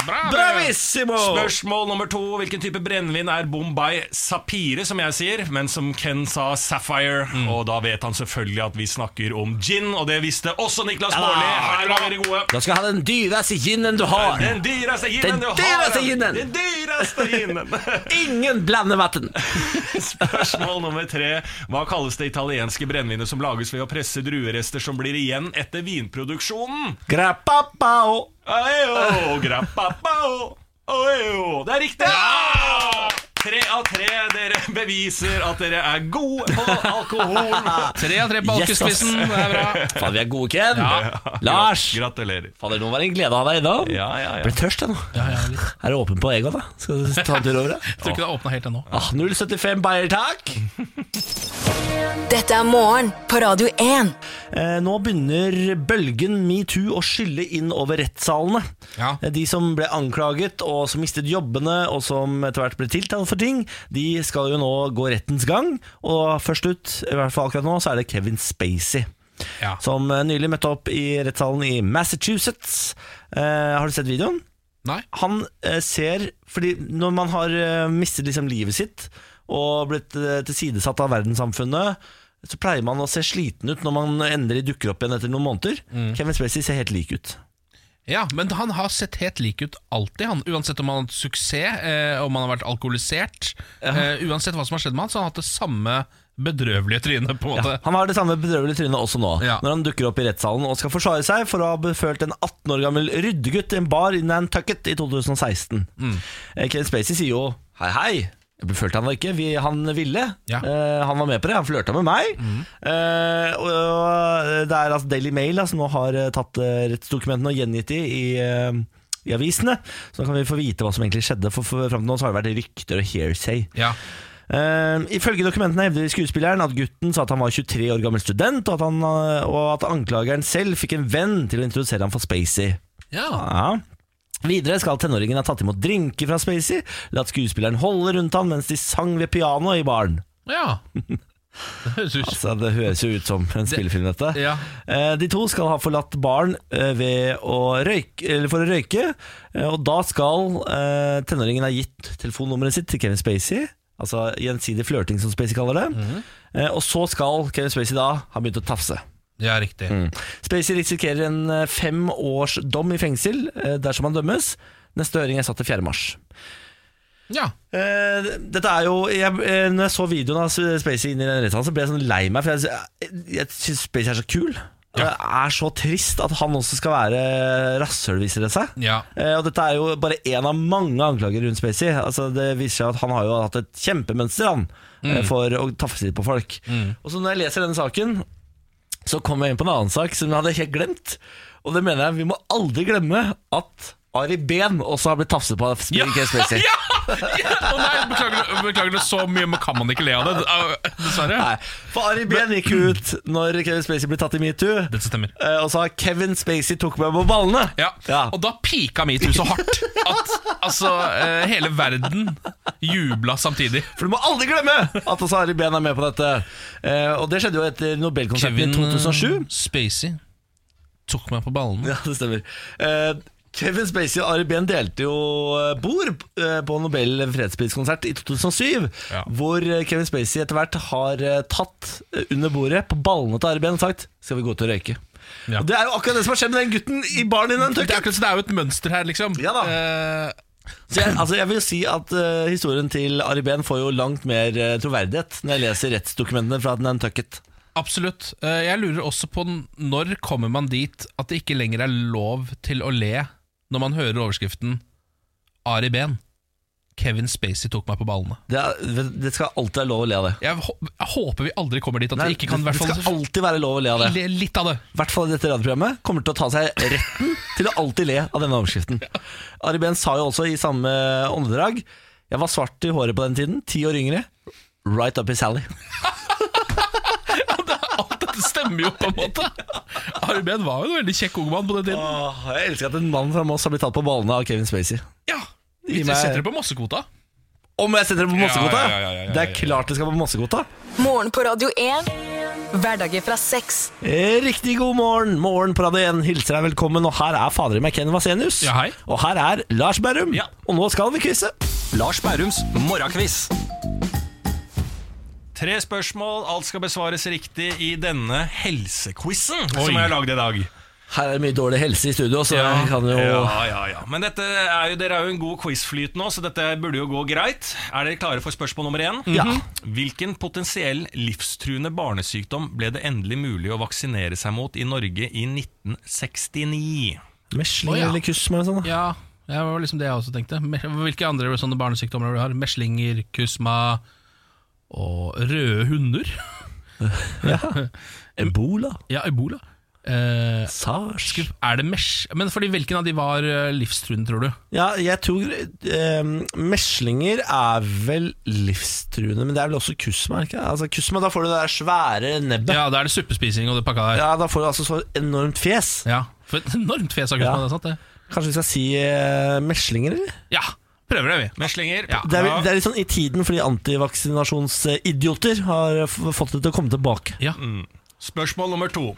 Speaker 2: Bra, det.
Speaker 1: Bravissimo!
Speaker 5: Spørsmål nummer to. Hvilken type brennevin er Bombay Sapire, som jeg sier, men som Ken sa Sapphire?
Speaker 1: Mm.
Speaker 5: Og da vet han selvfølgelig at vi snakker om gin, og det visste også Niklas Baarli. Her var dere gode.
Speaker 1: Da skal jeg ha den dyreste ginen du har.
Speaker 5: Den dyreste ginen
Speaker 1: Den
Speaker 5: du har!
Speaker 1: dyreste ginen.
Speaker 5: Den dyreste ginen!
Speaker 1: Ingen blandevann.
Speaker 5: Spørsmål nummer tre. Hva kalles det italienske brennevinet som lages ved å presse druerester som blir igjen etter vinproduksjonen?
Speaker 1: Grappa pao.
Speaker 5: Aeo, grappapao, aeo. Det er riktig! Tre av tre dere beviser at dere er gode på alkohol.
Speaker 2: Tre av tre
Speaker 1: Yes,
Speaker 2: på
Speaker 1: ass.
Speaker 2: alkespissen, det er bra.
Speaker 1: Faen, vi er gode, Ken.
Speaker 2: Ja.
Speaker 1: Lars.
Speaker 5: Gratulerer.
Speaker 1: Fader, nå var det en glede å ha deg innom.
Speaker 5: Ja, ja, ja.
Speaker 1: Ble tørst, jeg nå. Er du åpen på Egon, da? Skal du ta en tur over? da?
Speaker 2: Jeg tror ikke det har åpna helt ennå.
Speaker 1: Ah, 075 Bayer, takk.
Speaker 3: Dette er morgen på Radio 1.
Speaker 1: Eh, nå begynner bølgen metoo å skylle inn over rettssalene.
Speaker 2: Ja.
Speaker 1: Eh, De som ble anklaget og som mistet jobbene og som etter hvert ble tiltalt for ting, de skal jo nå gå rettens gang. Og først ut, i hvert fall akkurat nå, så er det Kevin Spacey.
Speaker 2: Ja.
Speaker 1: Som eh, nylig møtte opp i rettssalen i Massachusetts. Eh, har du sett videoen?
Speaker 2: Nei.
Speaker 1: han eh, ser Fordi når man har eh, mistet liksom livet sitt og blitt eh, tilsidesatt av verdenssamfunnet, så pleier man å se sliten ut når man endelig dukker opp igjen etter noen måneder. Kevin Spacey ser helt lik ut.
Speaker 2: Ja, men han har sett helt lik ut alltid, han. Uansett om han har hatt suksess, eh, om han har vært alkoholisert. Eh, uansett hva som har skjedd med han, så har han hatt det samme bedrøvelige trynet, på en måte.
Speaker 1: Ja, han har det samme bedrøvelige trynet også nå,
Speaker 2: Ja.
Speaker 1: når han dukker opp i rettssalen og skal forsvare seg for å ha befølt en 18 år gammel ryddegutt i en bar i Nantucket i 2016.
Speaker 2: Mm.
Speaker 1: Eh, Kevin Spacey sier jo hei, hei. Jeg befølte han da ikke, vi, han ville.
Speaker 2: Ja. Mm.
Speaker 1: Eh, han var med på det, han flørta med meg. Eh, og, og det er altså Daily Mail da, som nå har eh, tatt eh, rettsdokumentene og gjengitt de i, eh, i avisene. Så da kan vi få vite hva som egentlig skjedde, for, for fram til nå så har det vært rykter og hearsay.
Speaker 2: Ja.
Speaker 1: Uh, ifølge dokumentene hevder skuespilleren at gutten sa at han var 23 år gammel student, og at, han, eh, og at anklageren selv fikk en venn til å introdusere ham for Spacey.
Speaker 2: Ja.
Speaker 1: Ja. Videre skal tenåringen ha tatt imot drinker fra Spacey, latt skuespilleren holde rundt han mens de sang ved pianoet i baren.
Speaker 2: ja. Det høres ut
Speaker 1: Altså, det høres jo ut som en spillefilm, dette.
Speaker 2: Ja.
Speaker 1: Eh, De to skal ha forlatt baren eh, ved å røyke, eller for å røyke, eh, og da skal eh, tenåringen ha gitt telefonnummeret sitt til Kevin Spacey, altså gjensidig flørting, som Spacey kaller det. Eh, Og så skal Kevin Spacey da ha begynt å tafse.
Speaker 2: Ja, riktig.
Speaker 1: Mm. Spacey risikerer en eh, fem års dom i fengsel eh, dersom han dømmes. Neste høring er satt til 4. mars.
Speaker 2: Ja.
Speaker 1: Eh, dette er jo jeg, eh, Når jeg så videoen av Spacey inn i den rettssalen, så ble jeg sånn lei meg. For jeg, jeg syns Spacey er så kul. Det er så trist at han også skal være rasshøl, viser det seg.
Speaker 2: Ja.
Speaker 1: Eh, og dette er jo bare én av mange anklager rundt Spacey. Altså, det viser seg at han har jo hatt et kjempemønster han,
Speaker 2: Mm.
Speaker 1: eh, for å tafse litt på folk. Og så når jeg leser denne saken, så kom jeg inn på en annen sak som jeg hadde helt glemt. Og det mener jeg, vi må aldri glemme at Ari Behn også har blitt tafset på av
Speaker 2: Ja.
Speaker 1: Kevin Spacey.
Speaker 2: Ja! ja! Å nei, beklager, beklager det så mye, men kan man ikke le av det? Au, Dessverre.
Speaker 1: Nei, for Ari Behn gikk jo ut når Kevin Spacey ble tatt i metoo.
Speaker 2: Dette stemmer.
Speaker 1: eh, Og sa 'Kevin Spacey tok meg på ballene'.
Speaker 2: Ja.
Speaker 1: Ja.
Speaker 2: Og da pika metoo så hardt at altså, eh, hele verden jubla samtidig.
Speaker 1: For du må aldri glemme at også Ari Behn er med på dette. Eh, Og det skjedde jo etter Nobelkonserten i 2007.
Speaker 2: Spacey tok meg på ballene.
Speaker 1: Ja, det stemmer. Eh, Kevin Spacey og Ari Behn delte jo eh, bord eh, på Nobel fredspriskonsert i 2007,
Speaker 2: Ja.
Speaker 1: hvor eh, Kevin Spacey etter hvert har eh, tatt eh, under bordet på ballene til Ari Behn og sagt 'skal vi gå ut og røyke'?
Speaker 2: Ja.
Speaker 1: Og Det er jo akkurat det som har skjedd med den gutten i baren i
Speaker 2: Det, er
Speaker 1: Nantucket.
Speaker 2: akkurat, så det er jo et mønster her, liksom.
Speaker 1: Ja da.
Speaker 2: Eh,
Speaker 1: Så jeg, altså jeg vil si at eh, historien til Ari Behn får jo langt mer eh, troverdighet når jeg leser rettsdokumentene fra Nantucket.
Speaker 2: Absolutt. Eh, Jeg lurer også på n- når kommer man dit at det ikke lenger er lov til å le når man hører overskriften Ari Behn. Kevin Spacey tok meg på ballene.
Speaker 1: Det, er, det skal alltid være lov å le av det.
Speaker 2: Jeg, hå- jeg håper vi aldri kommer dit at vi ikke kan i
Speaker 1: det,
Speaker 2: hvert
Speaker 1: det skal
Speaker 2: fall
Speaker 1: alltid være lov å le av det.
Speaker 2: le litt av det.
Speaker 1: I hvert fall i dette radioprogrammet kommer til å ta seg retten til å alltid le av denne overskriften. Ari Behn sa jo også i samme åndedrag Jeg var svart i håret på den tiden, ti år yngre. Right up his alley.
Speaker 2: Alt dette stemmer jo, på en måte. Ari Behn var jo en veldig kjekk ung mann på den tiden.
Speaker 1: Åh, jeg elsker at en mann fra Moss har blitt tatt på ballene av Kevin Spacey.
Speaker 2: Ja,
Speaker 1: Gi
Speaker 2: Vi
Speaker 1: meg-
Speaker 2: setter det på massekvota.
Speaker 1: Om jeg setter det på Mossekvota?
Speaker 2: Ja, ja, ja, ja, ja, ja.
Speaker 1: Det er klart det skal på Mossekvota.
Speaker 3: Morgen på Radio 1. Hverdager fra seks.
Speaker 1: Eh, Riktig god morgen! Morgen på Radio 1 hilser deg velkommen, og her er fader i meg Ken Vasenius.
Speaker 2: Ja, hei.
Speaker 1: Og her er Lars Berrum.
Speaker 5: Ja.
Speaker 1: Og nå skal vi quize.
Speaker 5: Lars Bærums morgenkviss. Tre spørsmål, alt skal besvares riktig i denne helsequizen som jeg har lagd i dag.
Speaker 1: Her er det mye dårlig helse i studio, så jeg kan jo
Speaker 5: Ja, ja, ja. Men dette er jo, dere er jo en god quizflyt nå, så dette burde jo gå greit. Er dere klare for spørsmål nummer én?
Speaker 1: Ja.
Speaker 2: Mhm.
Speaker 5: Hvilken potensiell livstruende barnesykdom ble det endelig mulig å vaksinere seg mot i Norge i 1969?
Speaker 1: Mesling
Speaker 2: Å, ja.
Speaker 1: eller kusm eller sånn. da.
Speaker 2: Ja, det var liksom det jeg også tenkte. Me- Hvilke andre sånne barnesykdommer har du har? Meslinger, kusma og røde hunder.
Speaker 1: Ebola,
Speaker 2: Ja, ebola. Eh,
Speaker 1: sars
Speaker 2: er det mesh... Men fordi hvilken av de var eh, livstruende, tror du?
Speaker 1: Ja, jeg tror eh, meslinger er vel livstruende, men det er vel også kusma, er det ikke? Altså, kusma, da får du det der svære nebbet. Ja.
Speaker 2: Ja, da er det suppespising og det pakka der. Ja.
Speaker 1: da får du altså så enormt fjes.
Speaker 2: For et enormt fjes av kusma,
Speaker 1: Ja.
Speaker 2: det er sant det?
Speaker 1: Kanskje vi skal si eh, meslinger, eller?
Speaker 2: Ja, prøver det, vi.
Speaker 5: Meslinger.
Speaker 1: Det er, det er litt sånn i tiden fordi antivaksinasjonsidioter har f- fått det til å komme tilbake.
Speaker 2: Ja.
Speaker 5: Spørsmål nummer to.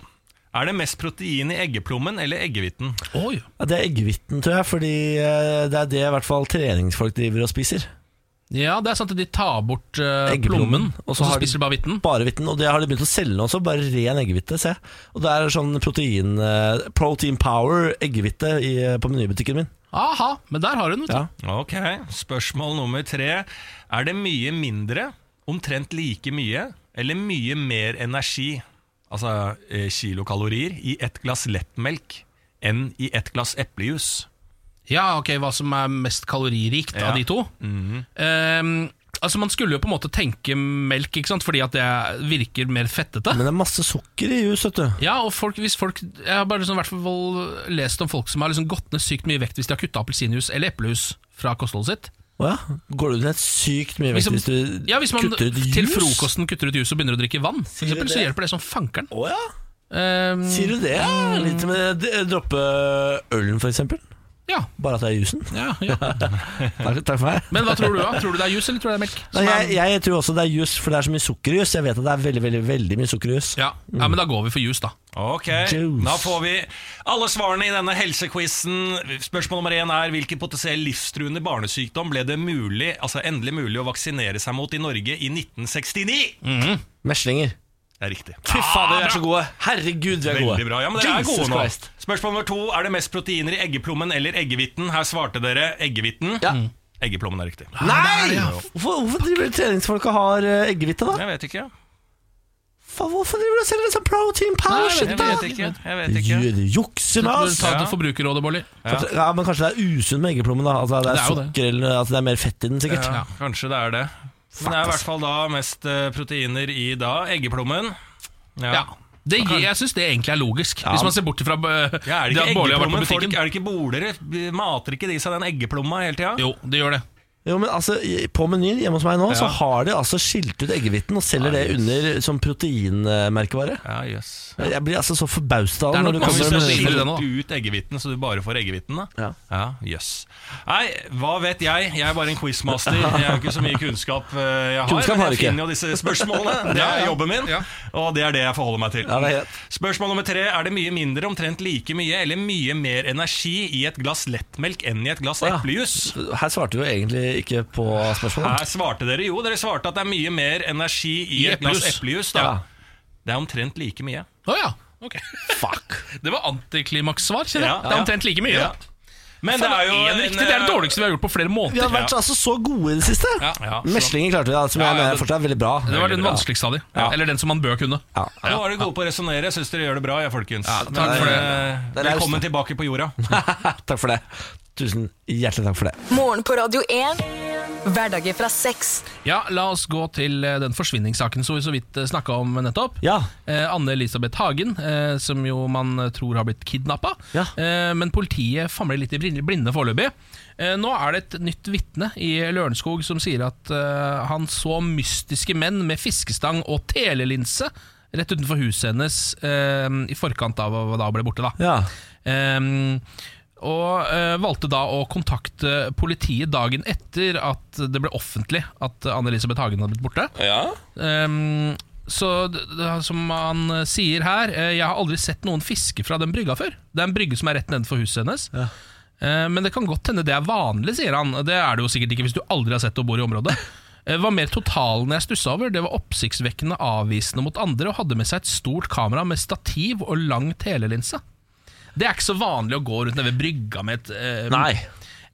Speaker 5: Er det mest protein i eggeplommen eller eggehviten?
Speaker 2: Oi.
Speaker 1: Ja, det er eggehviten, tror jeg, fordi eh, det er det i hvert fall treningsfolk driver og spiser.
Speaker 2: Ja, det er sant at de tar bort eh, plommen,
Speaker 1: Eggeplommen,
Speaker 2: og så,
Speaker 1: har de-
Speaker 2: spiser de bare hvitten.
Speaker 1: Bare hvitten, og det har de begynt å selge nå også, bare ren eggehvite, se. Og det er sånn protein, eh, protein power eggehvite i, eh, på menybutikken min.
Speaker 2: Aha, men der har hun, vet du.
Speaker 1: Ja.
Speaker 5: Ok, spørsmål nummer tre. Er det mye mindre, omtrent like mye, eller mye mer energi, altså eh, kilokalorier, i et glass lettmelk enn i et glass eplejus?
Speaker 2: Ja, ok, hva som er mest kaloririkt
Speaker 5: Ja.
Speaker 2: av de to.
Speaker 5: Mhm.
Speaker 2: Ehm, altså Man skulle jo på en måte tenke melk, ikke sant? fordi at det virker mer fettete.
Speaker 1: Men det er masse sukker i jus, vet du.
Speaker 2: Ja, og folk, hvis folk Jeg har bare liksom, i hvert fall lest om folk som har liksom gått ned sykt mye vekt hvis de har kutta appelsinjuice eller eplejus fra kostholdet sitt.
Speaker 1: Å ja, går du ned sykt mye vekt
Speaker 2: Liksom-
Speaker 1: hvis du
Speaker 2: Ja, Hvis man
Speaker 1: kutter ut
Speaker 2: til
Speaker 1: jus?
Speaker 2: frokosten kutter ut juice og begynner å drikke vann, for
Speaker 1: du
Speaker 2: eksempel, så
Speaker 1: det?
Speaker 2: hjelper det som fankeren.
Speaker 1: Å ja,
Speaker 2: Ehm,
Speaker 1: sier du det? ja? Litt med d- droppe ølen, for eksempel.
Speaker 2: ja,
Speaker 1: Bare at det er jusen.
Speaker 2: ja, ja.
Speaker 1: Takk, takk for meg.
Speaker 2: Men hva tror du, da? Tror du det er juice eller tror du det er melk?
Speaker 1: Nei,
Speaker 2: Som er-
Speaker 1: jeg, jeg tror også det er jus, for det er så mye sukker i jus. Jeg vet at det er veldig, veldig, veldig mye sukker i jus.
Speaker 2: ja. ja, men da går vi for juice, da.
Speaker 5: Ok,
Speaker 1: Juice.
Speaker 5: da får vi alle svarene i denne helsequizen. Spørsmål nummer én er hvilken potensiell livstruende barnesykdom ble det mulig, altså endelig mulig å vaksinere seg mot i Norge i 1969?
Speaker 1: Meslinger.
Speaker 5: Det er riktig.
Speaker 1: Mm. Fy fader, vi er så gode! Herregud, vi er gode.
Speaker 5: Ah, Veldig bra. Ja, men dere er
Speaker 1: Jesus
Speaker 5: gode nå.
Speaker 1: Christ.
Speaker 5: Spørsmål nummer to. Er det mest proteiner i eggeplommen eller eggehviten? Her svarte dere eggehviten.
Speaker 1: Ja.
Speaker 5: Eggeplommen er riktig.
Speaker 1: Nei! Hvorfor, hvorfor driver treningsfolk og har eh, eggehvite, da?
Speaker 5: Jeg vet ikke.
Speaker 1: Faen, Hvorfor driver du og selger sånn protein
Speaker 2: Nei,
Speaker 1: power
Speaker 2: jeg
Speaker 1: shit,
Speaker 5: Jeg
Speaker 1: da?
Speaker 5: vet ikke. Jeg vet ikke.
Speaker 1: Ju- Jukse med oss!
Speaker 2: Ta det
Speaker 5: Ja.
Speaker 2: til Forbrukerrådet, Bolli.
Speaker 1: Kanskje- Ja, men kanskje det er usunt med eggeplommen, da. Altså, det er,
Speaker 2: Det er jo det.
Speaker 1: sukker eller altså, det er mer fett i den, sikkert.
Speaker 5: Ja, kanskje det er det. Men det er i hvert fall da mest eh, proteiner i da eggeplommen.
Speaker 2: Ja. Det, gir- jeg syns det egentlig er logisk, hvis man ser bort fra
Speaker 5: Ja, er det ikke
Speaker 2: Bårli har vært
Speaker 5: eggeplommen?
Speaker 2: på
Speaker 5: Folk,
Speaker 2: butikken.
Speaker 5: er det ikke bolere? Mater ikke de seg den eggeplomma hele tida?
Speaker 2: Jo, det gjør det.
Speaker 1: Jo, men altså, i- På menyen hjemme hos meg nå, så har de altså skilt ut eggehviten og selger det under som proteinmerkevare.
Speaker 5: Ja, jøss.
Speaker 1: Jeg blir altså så forbausta
Speaker 2: Det er
Speaker 1: når
Speaker 2: nok
Speaker 1: du
Speaker 2: mange
Speaker 1: kommer
Speaker 5: Hvis du
Speaker 2: som
Speaker 1: med
Speaker 5: har
Speaker 2: det
Speaker 5: skilt
Speaker 2: det nå, da.
Speaker 5: ut eggehviten, så du bare får eggehviten, da?
Speaker 1: Ja.
Speaker 5: Ja, jøss. Nei, hva vet jeg? Jeg er bare en quizmaster. Jeg har ikke så mye kunnskap eh, jeg har.
Speaker 1: Kunnskap har
Speaker 5: men
Speaker 1: du
Speaker 5: jeg
Speaker 1: ikke.
Speaker 5: finner jo disse spørsmålene. Det
Speaker 2: Ja,
Speaker 5: er
Speaker 2: ja.
Speaker 5: jobben min,
Speaker 2: Ja.
Speaker 5: og det er det jeg forholder meg til.
Speaker 1: Ja, det er greit.
Speaker 5: Spørsmål nummer tre. Er det mye mindre, omtrent like mye, eller mye mer energi i et glass lettmelk enn i et glass
Speaker 1: Å, ja.
Speaker 5: eplejus?
Speaker 1: Her svarte vi jo egentlig ikke på spørsmålet.
Speaker 5: Her svarte dere jo. Dere svarte at det er mye mer energi i,
Speaker 2: I
Speaker 5: et glass
Speaker 2: eplejus.
Speaker 5: eplejus. da. Det er omtrent like mye.
Speaker 2: Å ja. ok.
Speaker 1: Fuck!
Speaker 2: Det var antiklimakssvar, kjenner jeg.
Speaker 5: Ja,
Speaker 2: det
Speaker 5: ja.
Speaker 2: er omtrent like mye.
Speaker 5: Ja.
Speaker 2: da.
Speaker 5: Men
Speaker 2: Faen,
Speaker 5: det er jo
Speaker 2: én
Speaker 5: en, eh,
Speaker 2: riktig, det er det dårligste vi har gjort på flere
Speaker 1: Vi har
Speaker 2: måneder.
Speaker 1: vært altså så gode i det siste.
Speaker 2: Ja, ja, så-
Speaker 1: Meslinger klarte vi, da, som
Speaker 2: Ja, ja,
Speaker 1: jeg mener
Speaker 2: det-
Speaker 1: fortsatt er veldig bra.
Speaker 2: Det var den vanskeligste av de. Eller den som man bør kunne.
Speaker 1: Ja.
Speaker 5: Nå var dere gode på å resonnere. Syns dere gjør det bra, jeg, folkens.
Speaker 2: takk
Speaker 5: Men,
Speaker 2: for det.
Speaker 5: eh,
Speaker 1: Det er raust,
Speaker 5: Velkommen
Speaker 1: det.
Speaker 5: tilbake på jorda.
Speaker 1: takk for det. Tusen hjertelig takk for det.
Speaker 3: Morgen på Radio 1. Hverdager fra seks.
Speaker 2: Ja, La oss gå til eh, den forsvinningssaken som vi så vidt snakka om nettopp.
Speaker 1: Ja.
Speaker 2: Eh, Anne-Elisabeth Hagen, eh, som jo man eh, tror har blitt kidnappa.
Speaker 1: Ja.
Speaker 2: Eh, men politiet famler litt i blinde blinde foreløpig. Eh, nå er det et nytt vitne i Lørenskog som sier at eh, han så mystiske menn med fiskestang og telelinse rett utenfor huset hennes eh, i forkant av hva da ble borte. da
Speaker 1: Ja.
Speaker 2: Ehm, og eh, valgte da å kontakte politiet dagen etter at det ble offentlig at Anne-Elisabeth Hagen hadde blitt borte. Ehm, så d- d- som han eh, sier her, eh, jeg har aldri sett noen fiske fra den brygga før. Det er en brygge som er rett nedenfor huset hennes. Eh, men det kan godt hende det er vanlig, sier han. Det er det jo sikkert ikke hvis du aldri har sett det og bor i området. Eh, var mer totalen jeg stussa over. Det var oppsiktsvekkende avvisende mot andre og hadde med seg et stort kamera med stativ og lang telelinse. Det er ikke så vanlig å gå rundt nede ved brygga med et eh,
Speaker 1: Nei.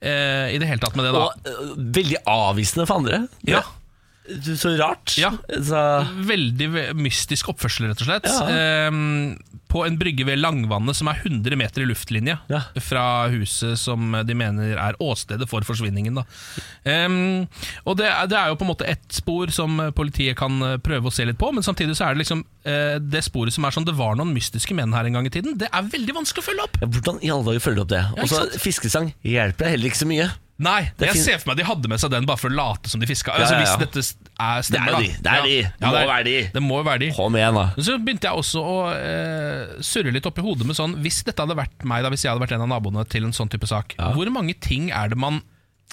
Speaker 2: eh, I det hele tatt med det, da.
Speaker 1: Og øh, veldig avvisende for andre.
Speaker 2: Ja.
Speaker 1: Du, Så rart.
Speaker 2: Ja.
Speaker 1: Så,
Speaker 2: Veldig ve- mystisk oppførsel, rett og slett.
Speaker 1: Ja.
Speaker 2: Ehm, på en brygge ved Langvannet som er 100 meter i luftlinje
Speaker 1: Ja.
Speaker 2: fra huset som de mener er åstedet for forsvinningen. Da. Ehm, og det er, det er jo på en måte ett spor som politiet kan eh, prøve å se litt på, men samtidig så er det liksom eh, det sporet som er sånn det var noen mystiske menn her en gang i tiden. Det er veldig vanskelig å følge opp!
Speaker 1: ja, hvordan i alle dager følger du opp det?
Speaker 2: Ja,
Speaker 1: Og så
Speaker 2: ikke sant?
Speaker 1: fiskesang hjelper deg heller ikke så mye.
Speaker 2: Nei,
Speaker 1: Det
Speaker 2: jeg
Speaker 1: fin-
Speaker 2: ser for meg de hadde med seg den bare for å late som de fiska.
Speaker 1: Ja,
Speaker 2: Altså,
Speaker 1: ja, ja.
Speaker 2: Hvis dette st- er
Speaker 1: Det
Speaker 2: stemmer,
Speaker 1: er jo de. Det er de. Det
Speaker 2: da.
Speaker 1: må være de.
Speaker 2: Det må jo være de.
Speaker 1: Kom igjen, da.
Speaker 2: Men så begynte jeg også å eh, surre litt oppi hodet med sånn Hvis dette hadde vært meg, da, hvis jeg hadde vært en av naboene til en sånn type sak, hvor mange ting er det man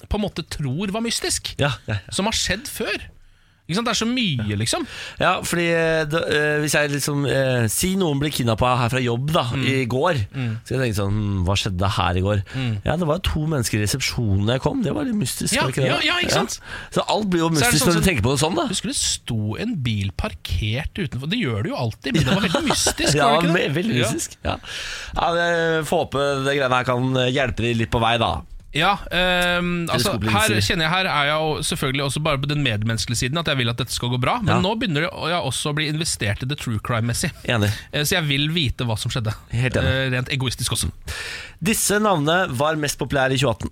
Speaker 2: på en måte tror var mystisk?
Speaker 1: Ja, ja, ja.
Speaker 2: Som har skjedd før? Ikke sant? Det er så mye, liksom.
Speaker 1: Ja, fordi eh, da, eh, hvis jeg liksom eh, Si noen blir kidnappa her fra jobb da
Speaker 2: Mm.
Speaker 1: i går. Så kan jeg tenke sånn hm, Hva skjedde her i går? Ja, det var to mennesker i resepsjonen da jeg kom. Det var litt mystisk.
Speaker 2: Mm. Ja,
Speaker 1: var det ikke det?
Speaker 2: ja, ja, ikke sant?
Speaker 1: Så alt blir jo
Speaker 2: er det
Speaker 1: mystisk
Speaker 2: sånn
Speaker 1: når
Speaker 2: som-
Speaker 1: du tenker på det sånn, da.
Speaker 2: Husker du det sto en bil parkert utenfor? Det gjør det jo alltid, men det var veldig mystisk.
Speaker 1: Ja,
Speaker 2: var det ikke det?
Speaker 1: ve- veldig
Speaker 2: Ja.
Speaker 1: mystisk. Ja. Ja. det- Får håpe det greiene her kan eh, hjelpe de litt på vei, da.
Speaker 2: Ja, ehm, altså, her
Speaker 1: Teleskoplinser.
Speaker 2: kjenner jeg her er jeg jo selvfølgelig også bare på den medmenneskelige siden at jeg vil at dette skal gå bra, men
Speaker 1: Ja.
Speaker 2: nå begynner det å- jeg også å bli investert i det true crime-messig.
Speaker 1: Enig.
Speaker 2: Eh, Så jeg vil vite hva som skjedde.
Speaker 1: Helt enig.
Speaker 2: Eh, Rent egoistisk også.
Speaker 1: Disse navnene var mest populære i 2018.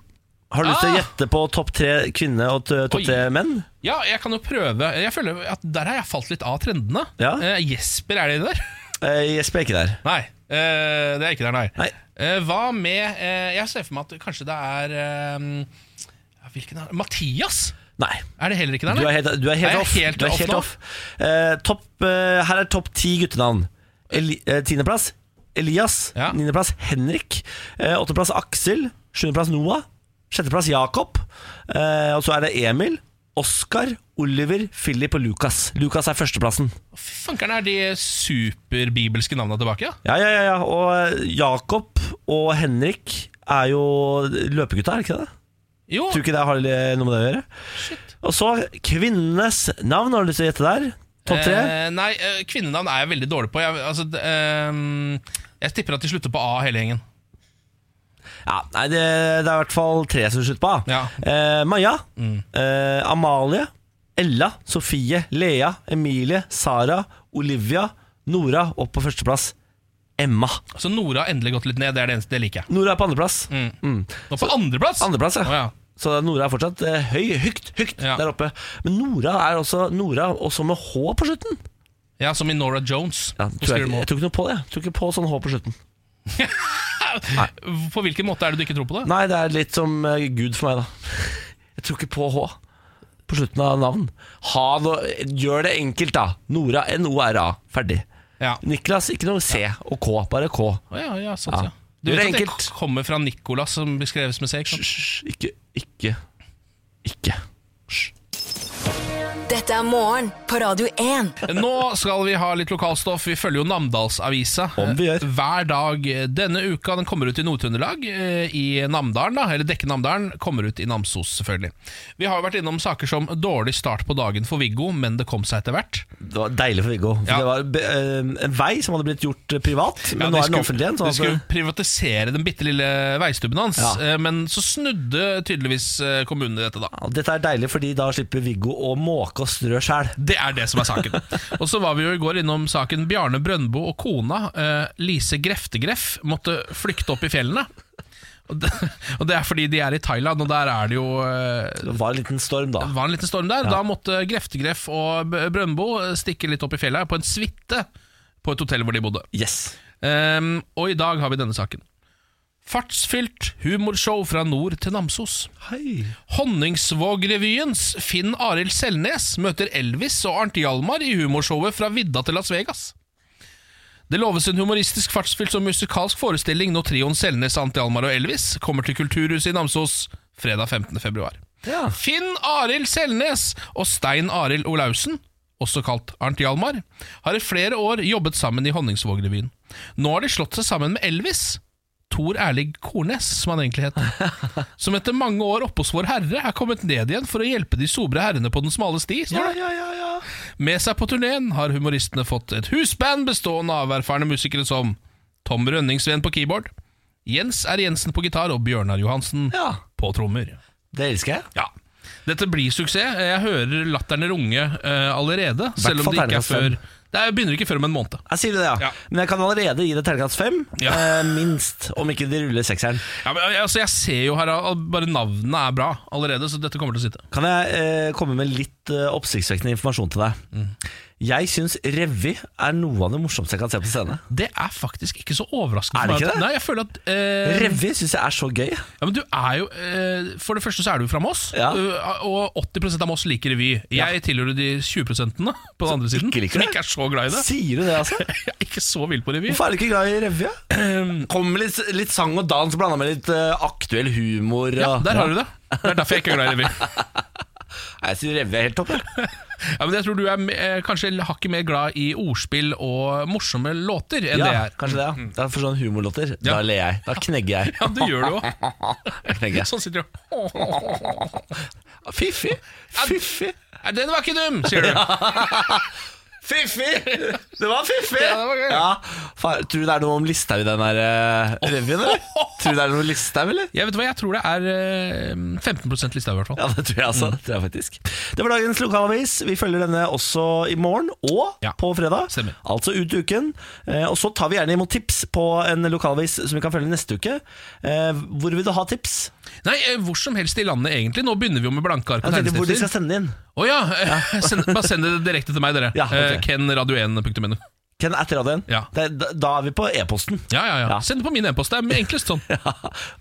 Speaker 1: Har du lyst til å
Speaker 2: Ah!
Speaker 1: gjette på topp tre kvinne og t-
Speaker 2: Oi.
Speaker 1: topp tre menn?
Speaker 2: Ja, jeg kan jo prøve. Jeg føler at Der har jeg falt litt av trendene.
Speaker 1: Ja.
Speaker 2: Eh, Jesper, er det der?
Speaker 1: Eh, Jesper er ikke der.
Speaker 2: Nei, eh, det er ikke der, nei.
Speaker 1: Nei.
Speaker 2: Eh, hva med eh, Jeg ser for meg at kanskje det er eh, ja, Hvilken er det? Mathias?
Speaker 1: Nei.
Speaker 2: Er det heller ikke der,
Speaker 1: Du er
Speaker 2: nei?
Speaker 1: helt, du er helt
Speaker 2: Er jeg
Speaker 1: off.
Speaker 2: helt
Speaker 1: du er
Speaker 2: off
Speaker 1: helt
Speaker 2: nå?
Speaker 1: off. Eh, topp, eh, her er topp ti guttenavn. Eli, eh, tiendeplass Elias.
Speaker 2: Ja.
Speaker 1: Niendeplass Henrik. Eh, åttendeplass Aksel. Sjuendeplass Noah. Sjetteplass Jakob. Eh, og så er det Emil. Oskar, Oliver, Philip og Lukas. Lukas er førsteplassen.
Speaker 2: Fy fankeren, er de superbibelske navna tilbake? Ja?
Speaker 1: Ja, ja, ja, ja. Og eh, Jakob og Henrik er jo løpegutta, er det ikke det?
Speaker 2: Jo,
Speaker 1: Tror ikke det har eh, noe med det å gjøre.
Speaker 2: shit.
Speaker 1: Og så kvinnenes navn, har du lyst til å gjette der? Topp tre?
Speaker 2: Eh, nei, eh, kvinnenavn er jeg veldig dårlig på. Jeg, altså, d- ehm, jeg tipper at de slutter på A, hele gjengen.
Speaker 1: Ja, nei, det, det er i hvert fall tre som slutter på A.
Speaker 2: Ja. Mm.
Speaker 1: Eh, Maja, eh, Amalie, Ella, Sofie, Lea, Emilie, Sara, Olivia, Nora og på førsteplass Emma.
Speaker 2: Så Nora har endelig gått litt ned. Det er det eneste det liker jeg.
Speaker 1: Nora er på andreplass.
Speaker 2: Mm.
Speaker 1: Mm.
Speaker 2: Nå på andreplass!
Speaker 1: Andreplass,
Speaker 2: Å,
Speaker 1: ja.
Speaker 2: ja.
Speaker 1: Så Nora er fortsatt eh, høy, høyt, høyt
Speaker 2: Ja.
Speaker 1: der oppe. Men Nora er også Nora, også med H på slutten.
Speaker 2: ja, som i Nora Jones.
Speaker 1: Ja,
Speaker 2: På
Speaker 1: tror jeg,
Speaker 2: Skrivemo.
Speaker 1: jeg tror ikke noe på det. Jeg tror ikke på sånn H på slutten.
Speaker 2: På hvilken måte er det du ikke tror på det?
Speaker 1: Nei, det er litt som eh, Gud for meg, da. Jeg tror ikke på H på slutten av navn. Ha noe, gjør det enkelt, da. Nora, N-O-R-A. Ferdig.
Speaker 2: Ja.
Speaker 1: Niklas, ikke noe C og K, bare K.
Speaker 2: Å, ja, ja, sant,
Speaker 1: Ja.
Speaker 2: ja. Du
Speaker 1: Det er
Speaker 2: vet at det
Speaker 1: enkelt.
Speaker 2: k- kommer fra Nicolas, som beskreves med C? ikke sant?
Speaker 1: Hysj, ikke, ikke, ikke. Hysj.
Speaker 3: Dette Dette er morgen på Radio 1.
Speaker 2: Nå skal vi ha litt lokalstoff. Vi følger jo Namdalsavisa
Speaker 1: Om vi gjør.
Speaker 2: eh, hver dag denne uka. Den kommer ut i Nord-Trøndelag, eh, i Namdalen, da, eller dekker Namdalen. Kommer ut i Namsos, selvfølgelig. Vi har jo vært innom saker som dårlig start på dagen for Viggo, men det kom seg etter hvert.
Speaker 1: Det var deilig for Viggo. For
Speaker 2: Ja.
Speaker 1: Det var be- eh, en vei som hadde blitt gjort eh, privat, men
Speaker 2: Ja,
Speaker 1: nå
Speaker 2: de
Speaker 1: er den
Speaker 2: skulle-
Speaker 1: offentlig igjen.
Speaker 2: de
Speaker 1: Sånn
Speaker 2: skulle
Speaker 1: at,
Speaker 2: privatisere den bitte lille veistubben hans,
Speaker 1: Ja.
Speaker 2: eh, men så snudde tydeligvis eh, kommunen i dette, da.
Speaker 1: altså, ja, dette er deilig, fordi da slipper Viggo å måke og strø sjæl.
Speaker 2: Det er det som er saken. Og så var vi jo i går innom saken Bjarne Brøndbo og kona, eh, Lise Greftegreff, måtte flykte opp i fjellene. Og det, og det er fordi de er i Thailand, og der er det jo eh,
Speaker 1: Det var en liten storm, da.
Speaker 2: det var en liten storm der. Da måtte Greftegreff og B- Brøndbo stikke litt opp i fjellet på en suite på et hotell hvor de bodde.
Speaker 1: Yes.
Speaker 2: Ehm, og i dag har vi denne saken. Fartsfylt humorshow fra nord til Namsos.
Speaker 1: Hei.
Speaker 2: Honningsvågrevyens Finn Arild Selnes møter Elvis og Arnt Hjalmar i humorshowet Fra vidda til Las Vegas. Det loves en humoristisk, fartsfylt og musikalsk forestilling når trioen Selnes, Arnt Hjalmar og Elvis kommer til Kulturhuset i Namsos fredag 15. februar.
Speaker 1: Ja.
Speaker 2: Finn Arild Selnes og Stein Arild Olaussen, også kalt Arnt Hjalmar, har i flere år jobbet sammen i Honningsvågrevyen. Nå har de slått seg sammen med Elvis. Tor Erlig Kornes, som han egentlig het. Som etter mange år oppe hos Vår Herre er kommet ned igjen for å hjelpe de sobre herrene på den smale sti.
Speaker 1: Ja,
Speaker 2: står det.
Speaker 1: ja, ja, ja.
Speaker 2: Med seg på turneen har humoristene fått et husband bestående av erfarne musikere som Tom Rønningsven på keyboard, Jens R. Jensen på gitar og Bjørnar Johansen
Speaker 1: ja.
Speaker 2: på trommer.
Speaker 1: Det elsker jeg.
Speaker 2: Ja. Dette blir suksess. Jeg hører latterne runge eh, allerede. Selv om
Speaker 1: fall
Speaker 2: det ikke er
Speaker 1: terningkast fem.
Speaker 2: før Det er, begynner ikke før om en måned.
Speaker 1: Jeg sier det, ja.
Speaker 2: Ja.
Speaker 1: Men jeg kan allerede gi det terningkast fem.
Speaker 2: Ja.
Speaker 1: eh, minst, om ikke de ruller sekseren.
Speaker 2: Ja, men, altså, jeg ser jo her at bare navnene er bra allerede, så dette kommer til å sitte.
Speaker 1: Kan jeg eh, komme med litt eh, oppsiktsvekkende informasjon til deg? Jeg syns revy er noe av det morsomste jeg kan se på scene.
Speaker 2: Det er faktisk ikke så overraskende.
Speaker 1: Er det
Speaker 2: for meg
Speaker 1: ikke
Speaker 2: at-
Speaker 1: det?
Speaker 2: Nei, jeg føler at eh,
Speaker 1: Revy syns jeg er så gøy.
Speaker 2: ja, men du er jo, eh, For det første så er du fra Moss,
Speaker 1: Ja.
Speaker 2: eh, og 80 av Moss liker revy. Jeg tilhører de 20 på den andre siden,
Speaker 1: ikke liker
Speaker 2: som
Speaker 1: det?
Speaker 2: ikke er så glad i det.
Speaker 1: Sier du det, altså?
Speaker 2: Jeg er ikke så vill på revy.
Speaker 1: Hvorfor er du ikke glad i revy? ja? Kom med litt, litt sang og dans blanda med litt eh, aktuell humor.
Speaker 2: Ja,
Speaker 1: og-
Speaker 2: der har du det. Det er derfor jeg ikke er glad i revy.
Speaker 1: Nei, Jeg syns revy er helt topp. jeg.
Speaker 2: Ja, men jeg tror du er eh, kanskje hakket mer glad i ordspill og morsomme låter enn
Speaker 1: Ja,
Speaker 2: det jeg er.
Speaker 1: kanskje det. ja Det er Mm. for sånne humorlåter.
Speaker 2: Ja.
Speaker 1: Da ler jeg. Da knegger jeg.
Speaker 2: Ja, du gjør det jo.
Speaker 1: Jeg knegger.
Speaker 2: Sånn sitter du
Speaker 1: Fiffi! Fiffi!
Speaker 2: Nei, Den var ikke dum, sier du.
Speaker 1: Fiffi! Det var fiffi!
Speaker 2: Ja, det var gøy.
Speaker 1: Ja. Fa- tror du det er noe om Listhaug i den her eh, revyen, eller? Tror du det er noe Listhaug, eller?
Speaker 2: Jeg vet hva, jeg tror det er eh, 15 lista i hvert fall.
Speaker 1: Ja, det tror jeg
Speaker 2: Mm.
Speaker 1: altså. Det tror jeg faktisk. Det var dagens lokalavis. Vi følger denne også i morgen og
Speaker 2: Ja,
Speaker 1: på fredag.
Speaker 2: stemmer.
Speaker 1: Altså ut i uken. Eh, og så tar vi gjerne imot tips på en lokalavis som vi kan følge neste uke. Eh, hvor vil du ha tips?
Speaker 2: Nei, eh, hvor som helst i landet egentlig. Nå begynner vi jo med blanke ark og
Speaker 1: Jeg tenkte hvor de skal
Speaker 2: tegnestifter.
Speaker 1: sende inn.
Speaker 2: Å ja! eh, Send, bare send det direkte til meg, dere.
Speaker 1: Ja, ok.
Speaker 2: Eh, Kenradio1.no.
Speaker 1: Ken etter radioen.
Speaker 2: Ja.
Speaker 1: Det, da, da er vi på e-posten.
Speaker 2: Ja, ja, ja.
Speaker 1: Ja.
Speaker 2: Send det på min e-post. Det er enklest sånn.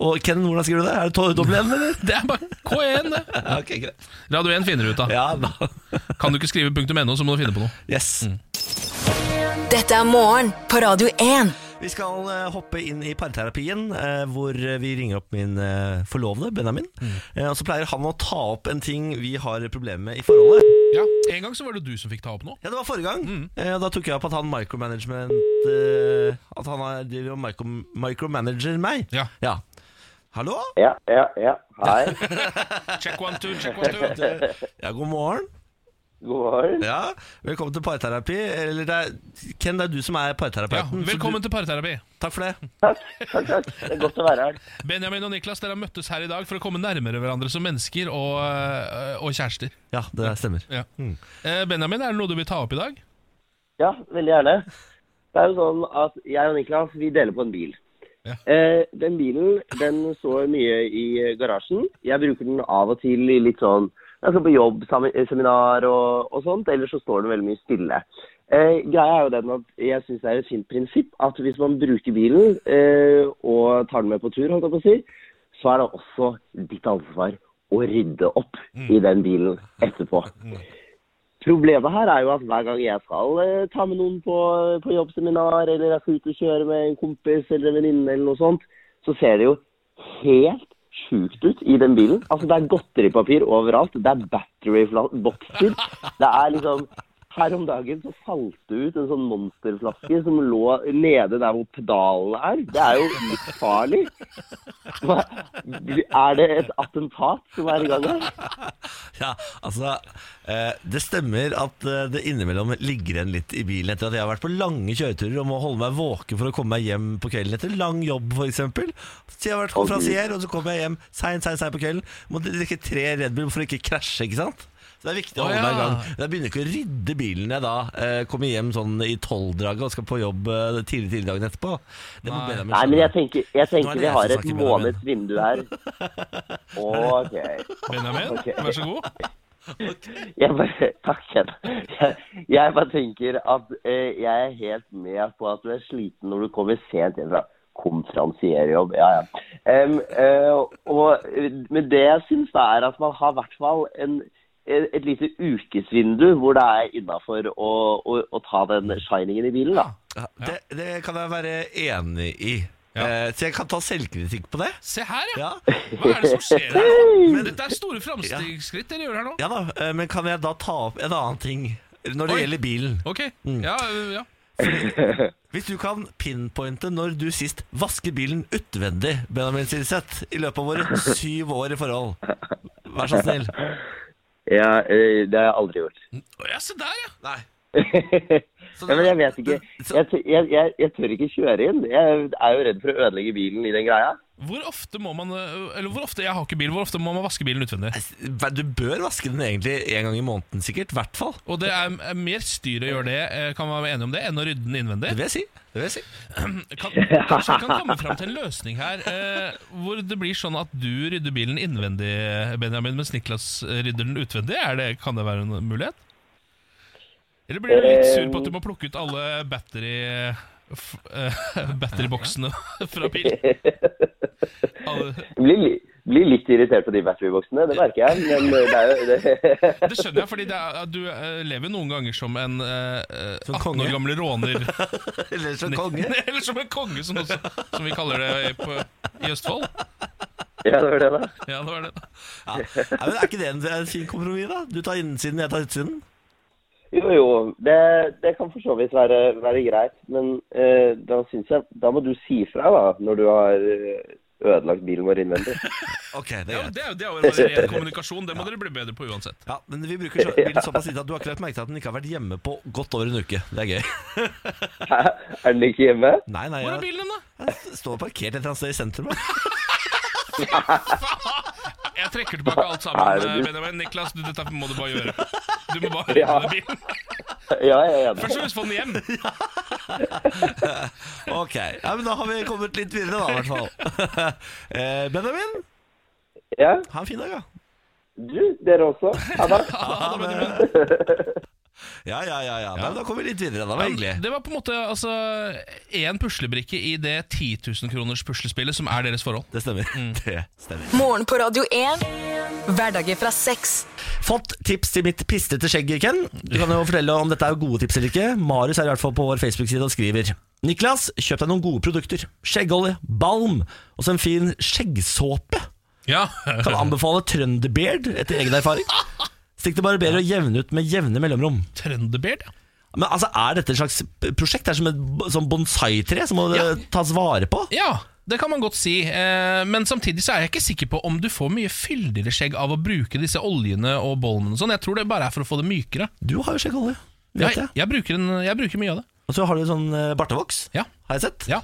Speaker 1: Og Ken, hvordan skriver du det? Er det to- dobbel N, eller?
Speaker 2: Det er bare K1, det.
Speaker 1: Ja, ok, greit.
Speaker 2: Radio 1 finner du ut av.
Speaker 1: Ja, da.
Speaker 2: Kan du ikke skrive punktum .no, så må du finne på noe.
Speaker 1: Yes.
Speaker 2: Mm.
Speaker 3: Dette er morgen på Radio 1.
Speaker 1: Vi skal eh, hoppe inn i parterapien, eh, hvor eh, vi ringer opp min eh, forlovede, Benjamin.
Speaker 2: Mm.
Speaker 1: Eh, og så pleier han å ta opp en ting vi har problemer med i forholdet.
Speaker 2: Ja, En gang så var det du som fikk ta opp noe.
Speaker 1: Ja, det var forrige gang.
Speaker 2: Mm.
Speaker 1: Eh, og da tok jeg opp at han micromanagement eh, At han er, driver og micro, micromanager meg.
Speaker 2: Ja.
Speaker 1: Hallo?
Speaker 6: Ja, ja, ja. Hei.
Speaker 2: Check one, two, check one, two.
Speaker 1: Ja, god morgen.
Speaker 6: God morgen.
Speaker 1: Ja, Velkommen til parterapi. Eller det er, Ken, det er du som er
Speaker 2: Ja,
Speaker 1: parterapeuten. så
Speaker 2: velkommen til parterapi.
Speaker 1: Du, takk for det.
Speaker 6: Takk, takk, takk. Det er godt å være her.
Speaker 2: Benjamin og Niklas, dere har møttes her i dag for å komme nærmere hverandre som mennesker og, øh, og kjærester.
Speaker 1: Ja, det stemmer.
Speaker 2: Ja. Eh, Benjamin, er det noe du vil ta opp i dag?
Speaker 6: Ja, veldig gjerne. Det er jo sånn at jeg og Niklas, vi deler på en bil.
Speaker 2: Ja.
Speaker 6: Eh, den bilen, den står mye i eh, garasjen. Jeg bruker den av og til i litt sånn Jeg skal på jobb, sami- eh, seminar og, og sånt. Ellers så står den veldig mye stille. Eh, greia er jo den at jeg syns det er et fint prinsipp at hvis man bruker bilen eh, og tar den med på tur, holdt jeg på å si, så er det også ditt ansvar å rydde opp i den bilen etterpå. Problemet her er jo at hver gang jeg skal eh, ta med noen på, på jobbseminar, eller jeg skal ut og kjøre med en kompis eller en venninne eller noe sånt, så ser det jo helt sjukt ut i den bilen. Altså, det er godteripapir overalt. Det er battery-bokser. Det er liksom Her om dagen så falt det ut en sånn monsterflaske som lå nede der hvor pedalene er. Det er jo livsfarlig. Hva- Er det et attentat som er i gang her?
Speaker 1: Ja, altså eh, Det stemmer at eh, det innimellom ligger igjen litt i bilen etter at jeg har vært på lange kjøreturer og må holde meg våken for å komme meg hjem på kvelden etter lang jobb, f.eks. Så jeg har vært konferansier, og så kommer jeg hjem seint, seint, seint på kvelden. Må drikke tre Red Bull for å ikke krasje, ikke sant? Så det er viktig å
Speaker 2: Å,
Speaker 1: holde
Speaker 2: ja.
Speaker 1: meg i gang. Jeg begynner ikke å rydde bilen når jeg da eh, kommer hjem sånn i tolvdraget og skal på jobb eh, tidlig tidlig dagen etterpå. Det må Benjamin
Speaker 6: Nei, men jeg tenker, jeg
Speaker 1: Nå er
Speaker 6: tenker
Speaker 1: det
Speaker 6: vi
Speaker 1: jeg
Speaker 6: har
Speaker 1: som
Speaker 6: et
Speaker 1: snakker, Benjamin.
Speaker 6: måneds vindu her. Ok.
Speaker 2: Benjamin,
Speaker 6: Ok.
Speaker 2: vær så god.
Speaker 6: jeg bare, takk, Ken. Jeg, jeg bare tenker at eh, jeg er helt med på at du er sliten når du kommer sent hjem fra konferansierjobb. Ja, ja. Em, eh, og, men det jeg syns er at man har i hvert fall en et et lite ukesvindu hvor det er innafor å, å, å ta den shiningen i bilen, da.
Speaker 1: Ja, det, det kan jeg være enig i. Eh, så jeg kan ta selvkritikk på det.
Speaker 2: Se her, ja.
Speaker 1: Ja
Speaker 2: Hva er det som skjer her? nå? Men dette er store framstegsskritt dere gjør her nå.
Speaker 1: Ja da, eh, men kan jeg da ta opp en annen ting når det
Speaker 2: Oi.
Speaker 1: gjelder bilen?
Speaker 2: Ok, ja, ja.
Speaker 1: Hvis du kan pinpointe når du sist vasket bilen utvendig, Benjamin Silseth, i løpet av våre syv år i forhold. Vær så snill.
Speaker 6: Ja, eh, det har jeg aldri gjort.
Speaker 2: Å, ja, se der, ja.
Speaker 1: Nei.
Speaker 6: ja, men jeg vet ikke. Jeg, tør- jeg, jeg, jeg tør ikke kjøre inn. Jeg er jo redd for å ødelegge bilen i den greia.
Speaker 2: Hvor ofte må man øh, Eller hvor ofte jeg har ikke bil, hvor ofte må man vaske bilen utvendig?
Speaker 1: Du bør vaske den egentlig en gang i måneden, sikkert. I hvert fall.
Speaker 2: Og det er er mer styr å gjøre det, eh, kan man være enig om det, enn å rydde den innvendig.
Speaker 1: Det vil jeg si. Det vil jeg si.
Speaker 2: Kan, kanskje vi kan komme fram til en løsning her eh, hvor det blir sånn at du rydder bilen innvendig, Benjamin, mens Niklas eh, rydder den utvendig. Er det, kan det være en mulighet? Eller blir du litt sur på at du må plukke ut alle battery... F eh, batteryboksene fra bilen? Alle-
Speaker 6: Jeg blir, li- blir litt irritert på de batteryboksene, det merker jeg. Men eh, det er jo det,
Speaker 2: Det skjønner jeg, fordi det er, du eh, lever noen ganger som en eh, eh,
Speaker 1: Som
Speaker 2: 18
Speaker 1: konge.
Speaker 2: år gammel råner.
Speaker 1: Eller som konge.
Speaker 2: Eller som en konge, som, også, som vi kaller det på, i Østfold.
Speaker 6: ja, det var det, da.
Speaker 2: Ja, det var det.
Speaker 1: Ja. Nei, men er ikke det en, en fin kompromiss, da? Du tar innsiden, jeg tar utsiden.
Speaker 6: Jo, jo. Det, det kan for så vidt være, være greit. Men eh, da syns jeg Da må du si fra, da, når du har eh, ødelagt bilen vår innvendig.
Speaker 1: Ok, det er
Speaker 2: Ja,
Speaker 1: greit.
Speaker 2: men det er jo det er jo bare ren kommunikasjon. Det må dere bli bedre på uansett.
Speaker 1: Ja, men vi bruker så- bilen såpass lite at du har ikke lagt merke til at den ikke har vært hjemme på godt over en uke. Det er gøy.
Speaker 6: Hæ? Er den ikke hjemme?
Speaker 1: Nei, nei,
Speaker 2: Hvor er
Speaker 1: jeg-
Speaker 2: bilen din, da?
Speaker 1: Jeg står parkert et eller annet sted i sentrum. jeg.
Speaker 2: Jeg trekker tilbake alt sammen, eh,
Speaker 6: Er det du?
Speaker 2: Benjamin. Niklas, du, dette må du bare gjøre. Du må bare
Speaker 6: Ja.
Speaker 2: rydde bilen.
Speaker 6: Ja, jeg er enig.
Speaker 2: Først og fremst få den hjem.
Speaker 1: Ok, ja, men Da har vi kommet litt videre, da, i hvert fall. Eh, Benjamin,
Speaker 6: Ja,
Speaker 1: ha en fin dag, da.
Speaker 6: du, dere også. Ha det.
Speaker 1: Ja, ja, ja. ja. Nei, men da kommer vi litt videre. da, Det var hyggelig.
Speaker 2: Det var på en måte altså én puslebrikke i det 10 000 kroners puslespillet som er deres forhold.
Speaker 1: Det stemmer. Det stemmer.
Speaker 3: Morgen på Radio 1. Hverdager fra seks.
Speaker 1: Fått tips til mitt pistete skjegg, Ken. Du kan jo fortelle om dette er gode tips eller ikke. Marius er i hvert fall på vår Facebook-side og skriver Niklas, kjøp deg noen gode produkter. Skjeggolje, balm og så en fin skjeggsåpe.
Speaker 2: Ja,
Speaker 1: Kan anbefale Trønderbeard etter egen erfaring. Stikk til barberer og jevne ut med jevne mellomrom.
Speaker 2: Trønderbeard, ja.
Speaker 1: Men altså, Er dette et slags prosjekt? Det er som et b- sånn bonsai-tre som må
Speaker 2: Ja.
Speaker 1: eh, tas vare på?
Speaker 2: Ja, det kan man godt si. Eh, men samtidig så er jeg ikke sikker på om du får mye fyldigere skjegg av å bruke disse oljene og bolmene og sånn. Jeg tror det bare er for å få det mykere.
Speaker 1: Du har jo skjeggolje, vet
Speaker 2: Jeg,
Speaker 1: jeg.
Speaker 2: jeg, bruker, en, jeg bruker mye av det.
Speaker 1: Og så har du sånn eh, bartevoks,
Speaker 2: Ja.
Speaker 1: har jeg sett.
Speaker 2: ja.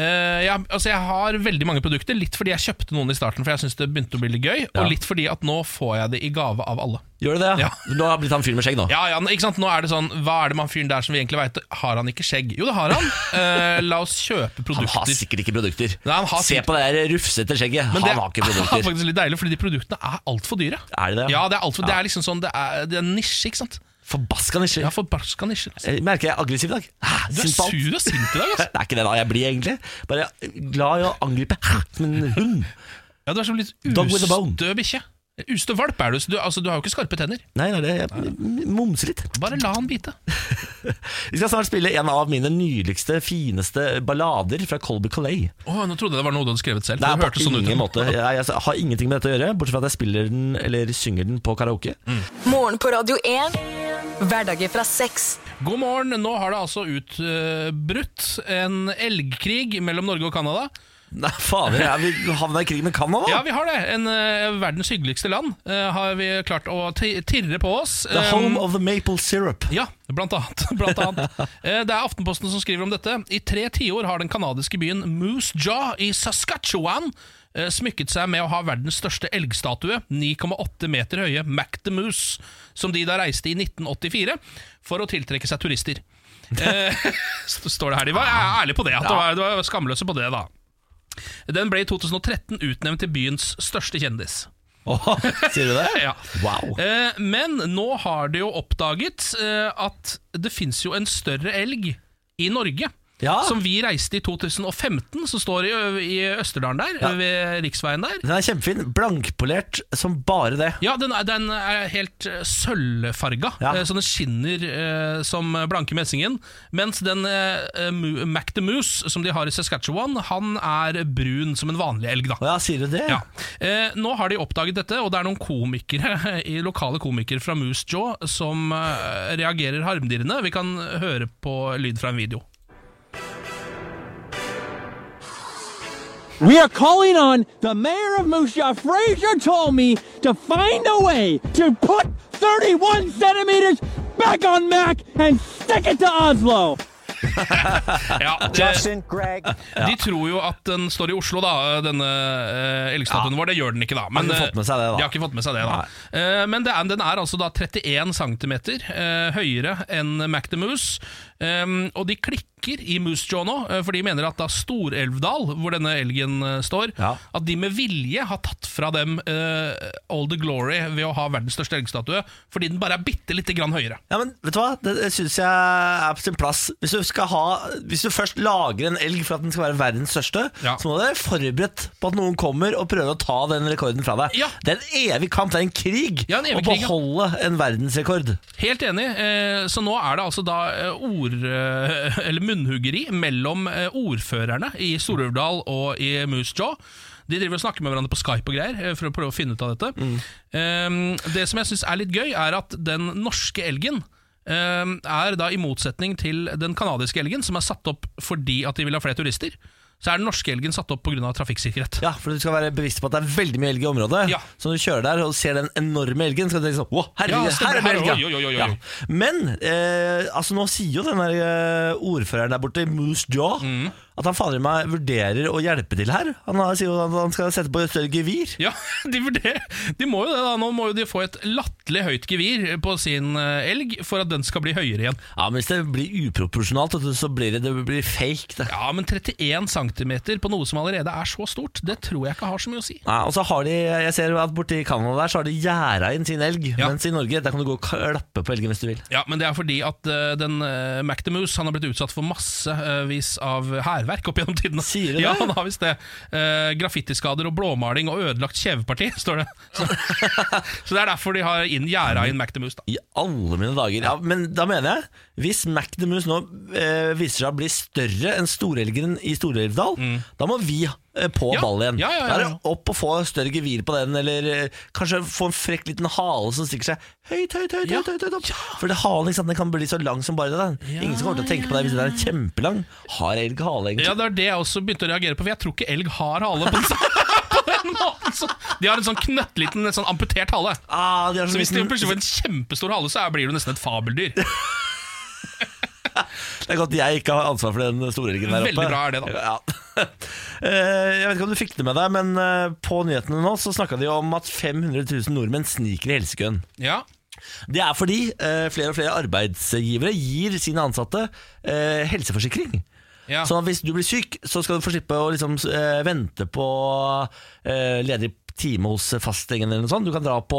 Speaker 2: Eh, jeg, altså jeg har veldig mange produkter, litt fordi jeg kjøpte noen i starten for jeg syntes det begynte å bli litt gøy, og litt fordi at nå får jeg det i gave av alle.
Speaker 1: Gjør du det?
Speaker 2: Ja.
Speaker 1: Nå har jeg blitt han fyren med skjegg nå.
Speaker 2: Ja, ja, ikke sant? Nå er det sånn, Hva er det man fyren der som vi egentlig veit Har han ikke skjegg? Jo, det har han. Eh, la oss kjøpe
Speaker 1: Han
Speaker 2: produkter.
Speaker 1: har sikkert ikke produkter.
Speaker 2: Nei, han har
Speaker 1: Se
Speaker 2: sikkert-
Speaker 1: på det der rufsete skjegget.
Speaker 2: Men
Speaker 1: Han har ikke
Speaker 2: er
Speaker 1: produkter.
Speaker 2: faktisk litt deilig, fordi de produktene er altfor dyre.
Speaker 1: Er de det?
Speaker 2: Ja, det er, alt for, det er liksom sånn, det er, det er en nisje, ikke sant?
Speaker 1: Forbaska nisjer.
Speaker 2: Ja, forbarska nisje.
Speaker 1: Jeg Eh, Merker jeg er aggressiv i dag. Ah,
Speaker 2: Du er
Speaker 1: sint på alt.
Speaker 2: sur og sint i dag,
Speaker 1: Det
Speaker 2: altså.
Speaker 1: er ikke det da jeg blir, egentlig. Bare glad i å angripe som en hund.
Speaker 2: Ja, du er som litt
Speaker 1: Dog with a bone.
Speaker 2: ustø bikkje. Ustø valp er du, så du, altså, du har jo ikke skarpe tenner.
Speaker 1: Nei, nei, det, jeg mumser litt.
Speaker 2: Bare la han bite.
Speaker 1: Vi skal snart spille en av mine nydeligste, fineste ballader fra Colby Colley.
Speaker 2: Åh, nå trodde jeg det var noe du hadde skrevet selv. for
Speaker 1: Nei,
Speaker 2: det
Speaker 1: på
Speaker 2: hørtes sånn ut.
Speaker 1: ingen måte. Jeg, jeg har ingenting med dette å gjøre, bortsett fra at jeg spiller den eller synger den på karaoke.
Speaker 2: Mm.
Speaker 3: Morgen på Radio 1. Hverdager fra seks.
Speaker 2: God morgen. Nå har det altså utbrutt en elgkrig mellom Norge og Canada.
Speaker 1: Nei, fader, jeg, vi havna i krig med Canada!
Speaker 2: Ja, vi har det. En eh, verdens hyggeligste land eh, har vi klart å ti- tirre på oss.
Speaker 1: The
Speaker 2: Eh,
Speaker 1: home of the maple syrup.
Speaker 2: Ja, blant annet. Blant annet. Eh, Det er Aftenposten som skriver om dette. I tre tiår har den kanadiske byen Moose Jaw i Saskatchewan eh, smykket seg med å ha verdens største elgstatue, 9,8 meter høye Mac the Moose, som de da reiste i 1984 for å tiltrekke seg turister. Eh, Står det her. De var ærlige på det. At det var, de var skamløse på det, da. Den ble i 2013 utnevnt til byens største kjendis.
Speaker 1: Åh, sier du det?
Speaker 2: Ja.
Speaker 1: Wow.
Speaker 2: Eh, men nå har de jo oppdaget eh, at det fins jo en større elg i Norge.
Speaker 1: Ja.
Speaker 2: Som vi reiste i 2015, som står i, Ø- i Østerdalen der, ved riksveien der.
Speaker 1: Den er kjempefin. Blankpolert som bare det.
Speaker 2: Ja, den er, den er helt eh, sølvfarga,
Speaker 1: Ja.
Speaker 2: eh, så den skinner eh, som blanke messingen. Mens den eh, eh, Mu- Mac the Moose, som de har i Saskatchewan, han er brun som en vanlig elg, da.
Speaker 1: Å ja, sier du det?
Speaker 2: Ja. Eh, nå har de oppdaget dette, og det er noen komikere i lokale komikere fra Moose Jaw som eh, reagerer harmdirrende. Vi kan høre på lyd fra en video.
Speaker 7: We are calling on the mayor of Moose Jaw. Fraser told me to find a way to put 31 centimeters back on Mac and stick it to Oslo.
Speaker 2: Ja, eh, de tror jo at den står i Oslo, da, denne eh, elgstatuen vår. Det gjør den ikke, da. Men,
Speaker 1: Har ikke fått med seg det, da.
Speaker 2: eh, De har ikke fått med seg det, da. Eh, men det er, den er altså da 31 cm eh, høyere enn Mac the Moose. Eh, og de klikker i Moose Jaw nå, eh, for de mener at da Storelvdal, hvor denne elgen eh, står,
Speaker 1: Ja.
Speaker 2: at de med vilje har tatt fra dem eh, all the glory ved å ha verdens største elgstatue, fordi den bare er bitte lite grann høyere.
Speaker 1: Ja, men vet du hva? Det syns jeg er på sin plass. Hvis du, skal ha, hvis du først lager en elg for at den skal være verdens største,
Speaker 2: Ja.
Speaker 1: så må du være forberedt på at noen kommer og prøver å ta den rekorden fra deg.
Speaker 2: Ja.
Speaker 1: Det er en evig kamp, det er en krig
Speaker 2: Ja, en evig
Speaker 1: å
Speaker 2: krig, ja.
Speaker 1: beholde en verdensrekord.
Speaker 2: Helt enig. eh, Så nå er det altså da eh, ord... eh, Eller munnhuggeri mellom eh, ordførerne i Stor-Uvdal og i Moose Jaw. De driver og snakker med hverandre på Skype og greier eh, for å prøve å finne ut av dette. Eh, Det som jeg syns er litt gøy, er at den norske elgen eh, er da i motsetning til den kanadiske elgen, som er satt opp fordi at de vil ha flere turister, så er den norske elgen satt opp pga. trafikksikkerhet.
Speaker 1: Ja, for du skal være bevisst på at det er veldig mye elg i området.
Speaker 2: Ja.
Speaker 1: Så når du kjører der og ser den enorme elgen, skal du tenke sånn Å, herregud,
Speaker 2: Ja, stemmer.
Speaker 1: her er det elg!
Speaker 2: Her-
Speaker 1: ja!»
Speaker 2: oi, oi, oi, oi.
Speaker 1: Ja. Men eh, altså, nå sier jo den der eh, ordføreren der borte, Moose Jaw,
Speaker 2: Mm.
Speaker 1: at han fader meg vurderer å hjelpe til her. Han har- sier jo at han skal sette på et større gevir.
Speaker 2: Ja, de, vurderer- de må jo det da Nå må jo de få et latterlig høyt gevir på sin eh, elg For at den skal bli høyere igjen
Speaker 1: Ja, men hvis det blir uproporsjonalt, vet du, så blir det, det blir fake. Det.
Speaker 2: Ja, men 31 cm på noe som allerede er så stort Det tror jeg ikke har så mye å si
Speaker 1: Nei, og så har de, jeg ser at Borti Canada der så har de gjerda inn sin elg,
Speaker 2: Ja.
Speaker 1: mens i Norge der kan du gå og klappe på elgen hvis du vil.
Speaker 2: Ja, men det er fordi at eh, den eh, Mac the Moose Han har blitt utsatt for massevis av herverk opp gjennom tidene
Speaker 1: Sier du det?
Speaker 2: Ja, han har visst det Eh, Graffitiskader og blåmaling og ødelagt kjeveparti Står det Så, så det er derfor de har inn, gjæra inn Mac the Moose da
Speaker 1: I alle mine dager. Ja, men da mener jeg, hvis Mac the Moose nå eh, viser seg å bli større enn storelgen i Storelvdal, da må vi eh, på
Speaker 2: Mm. Ja.
Speaker 1: ball igjen.
Speaker 2: Ja, ja, ja,
Speaker 1: Da er
Speaker 2: ja.
Speaker 1: det opp og få større gevir på den, eller eh, kanskje få en frekk liten hale som stikker seg høyt, høyt, høyt,
Speaker 2: Ja.
Speaker 1: høyt, høyt, høyt opp. For det halen ikke sant, den kan bli så lang som bare det. den. Ingen som kommer til å tenke på det hvis den er kjempelang. Har elg hale, egentlig?
Speaker 2: Ja, det er det jeg også begynte å reagere på, for jeg tror ikke elg har hale på den, sa- på den måten. Så de har en sånn knøttliten, en sånn amputert hale.
Speaker 1: Ah, de har
Speaker 2: Så hvis de
Speaker 1: liten-
Speaker 2: plutselig får en kjempestor hale, så er- blir du nesten et fabeldyr.
Speaker 1: Det er godt jeg ikke har ansvar for den storelgen der oppe.
Speaker 2: Veldig bra er det, da.
Speaker 1: Ja. Eh, Jeg vet ikke om du fikk det med deg, men eh, på nyhetene nå så snakka de om at 500 000 nordmenn sniker i helsekøen.
Speaker 2: Ja,
Speaker 1: Det er fordi eh, flere og flere arbeidsgivere gir sine ansatte eh, helseforsikring. Sånn
Speaker 2: ja.
Speaker 1: Så hvis du blir syk, så skal du få slippe å liksom, eh, vente på eh, ledig time hos fastlegen eller noe sånt. Du kan dra på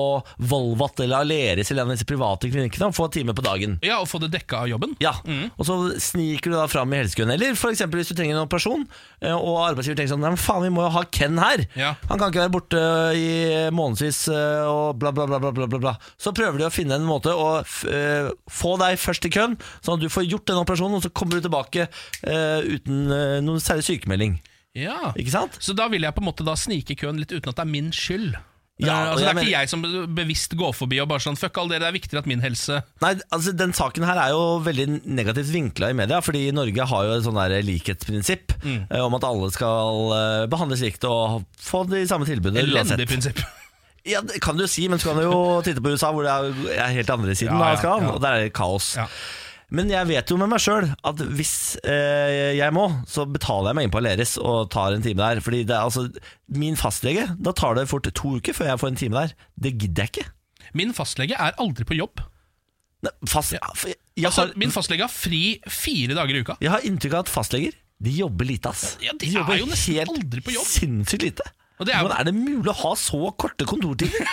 Speaker 1: Volvat eller Aleris eller en av disse private klinikkene og få en time på dagen.
Speaker 2: Ja, Å få det dekka av jobben?
Speaker 1: Ja, Og så sniker du da fram i helsekøen. Eller for eksempel hvis du trenger en operasjon, eh, og arbeidsgiver tenker sånn Nei, men faen, vi må jo ha Ken her.
Speaker 2: Ja.
Speaker 1: Han kan ikke være borte i månedsvis eh, og bla, bla, bla, bla, bla, bla, bla. Så prøver de å finne en måte å f eh, få deg først i køen, sånn at du får gjort den operasjonen, og så kommer du tilbake eh, uten eh, noen særlig sykemelding.
Speaker 2: Ja.
Speaker 1: Ikke sant?
Speaker 2: Så da vil jeg på en måte da snike i køen litt uten at det er min skyld.
Speaker 1: Ja,
Speaker 2: Eh,
Speaker 1: og
Speaker 2: altså, det
Speaker 1: jeg
Speaker 2: er
Speaker 1: mener-
Speaker 2: ikke jeg som be- bevisst går forbi og bare sånn Fuck all dere, det er viktigere at min helse
Speaker 1: Nei, altså Den saken her er jo veldig negativt vinkla i media, fordi Norge har jo et sånn der likhetsprinsipp
Speaker 2: Mm.
Speaker 1: eh, om at alle skal eh, behandles likt og få de samme tilbudene
Speaker 2: Elendig prinsipp.
Speaker 1: Ja, det kan du si, men så kan du jo titte på USA, hvor det er- er helt andre siden
Speaker 2: Ja, ja,
Speaker 1: av skalaen,
Speaker 2: ja.
Speaker 1: og der er det kaos.
Speaker 2: Ja.
Speaker 1: Men jeg vet jo med meg sjøl at hvis eh, jeg må, så betaler jeg meg inn på Aleris og tar en time der. Fordi det er altså min fastlege, da tar det fort to uker før jeg får en time der. Det gidder jeg ikke.
Speaker 2: Min fastlege er aldri på jobb.
Speaker 1: Nei, fast, jeg, jeg
Speaker 2: Altså,
Speaker 1: har,
Speaker 2: min fastlege har fri fire dager i uka.
Speaker 1: Jeg har inntrykk av at fastleger de jobber lite, ass.
Speaker 2: Ja, de er jo nesten aldri på jobb.
Speaker 1: sinnssykt lite.
Speaker 2: Og det er jo-
Speaker 1: Hvordan er det mulig å ha så korte kontortider?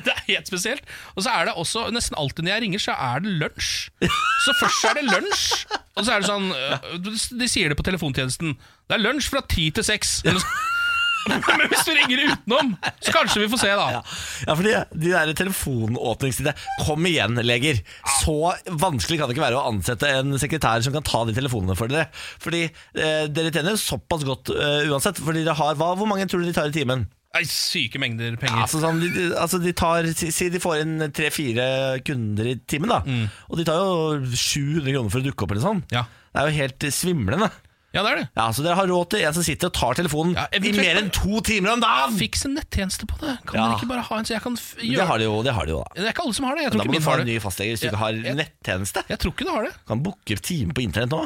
Speaker 2: Det er helt spesielt. Og så er det også, nesten alltid når jeg ringer, så er det lunsj. Så først så er det lunsj, og så er det sånn øh, De sier det på telefontjenesten. Det er lunsj fra ti til seks. Eller så- Men hvis du ringer utenom, så kanskje vi får se, da.
Speaker 1: Ja, fordi de der telefonåpningstidene Kom igjen, leger! Så vanskelig kan det ikke være å ansette en sekretær som kan ta de telefonene for dere. Fordi eh, dere tjener såpass godt eh, uansett. Fordi dere har, hva, Hvor mange tror du de tar i timen?
Speaker 2: Nei, syke mengder
Speaker 1: Ja,
Speaker 2: penger.
Speaker 1: altså, sånn, de, de- altså de tar Si si de får inn tre-fire kunder i timen, da.
Speaker 2: Mm.
Speaker 1: Og de tar jo 700 kroner for å dukke opp, eller sånn.
Speaker 2: Ja.
Speaker 1: Det er jo helt eh, svimlende.
Speaker 2: Ja, det er det.
Speaker 1: Ja, så dere har råd til en som sitter og tar telefonen
Speaker 2: Ja,
Speaker 1: i
Speaker 2: eventuelt-
Speaker 1: mer enn to timer om dagen!
Speaker 2: Fiks en nettjeneste på det. Kan
Speaker 1: Ja.
Speaker 2: man ikke bare ha en så jeg kan f
Speaker 1: Det
Speaker 2: gjøre
Speaker 1: har de jo, det har de jo da.
Speaker 2: Det er ikke alle som har det. Jeg tror
Speaker 1: Da
Speaker 2: ikke
Speaker 1: må du
Speaker 2: min
Speaker 1: få
Speaker 2: har
Speaker 1: en ny
Speaker 2: det.
Speaker 1: fastlege hvis du
Speaker 2: Ja,
Speaker 1: ikke har
Speaker 2: ja.
Speaker 1: nettjeneste.
Speaker 2: Jeg tror ikke det har det.
Speaker 1: Kan booke time på internett nå.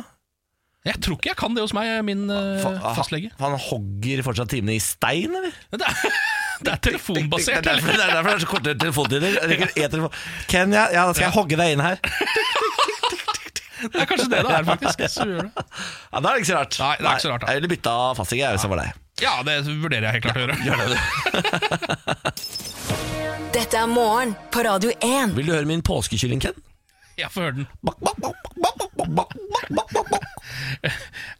Speaker 2: Jeg tror ikke jeg kan det hos meg, min øh,
Speaker 1: Fa- ha-
Speaker 2: fastlege.
Speaker 1: Han hogger fortsatt timene i stein, eller?
Speaker 2: Men Det er, det er
Speaker 1: Det er
Speaker 2: telefonbasert,
Speaker 1: derfor det
Speaker 2: eller?
Speaker 1: er, derfor det er så korte telefontider. Jeg rekker én telefon. Ken, ja, ja, da skal jeg hogge deg inn her.
Speaker 2: Det er kanskje det det er, faktisk. Så gjør det.
Speaker 1: Ja, Da er det ikke så rart.
Speaker 2: Nei, det er ikke så rart, da.
Speaker 1: Nei, Jeg ville bytta fastlege, jeg, hvis jeg var deg.
Speaker 2: Ja, det vurderer jeg helt klart å gjøre.
Speaker 3: Dette er morgen på Radio 1.
Speaker 1: Vil du høre min påskekylling, Ken?
Speaker 2: Jeg får høre den.
Speaker 1: Bak, bak, bak, bak, bak, bak, bak, bak, bak, bak, bak.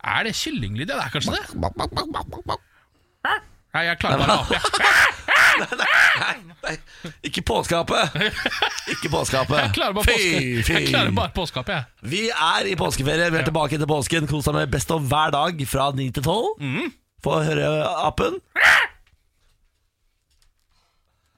Speaker 2: Er det kyllinglyd? Ja, det er kanskje det? Nei, jeg klarer bare å ape. jeg.
Speaker 1: Nei, ikke påskeape! Ikke påskeape.
Speaker 2: Jeg klarer bare
Speaker 1: Fy,
Speaker 2: påske-
Speaker 1: fy.
Speaker 2: jeg klarer bare påskapet, jeg.
Speaker 1: Vi er i påskeferie, vi er tilbake
Speaker 2: Mm.
Speaker 1: til påsken. Kos deg med Best of hver dag fra 9 til 12. Få høre apen.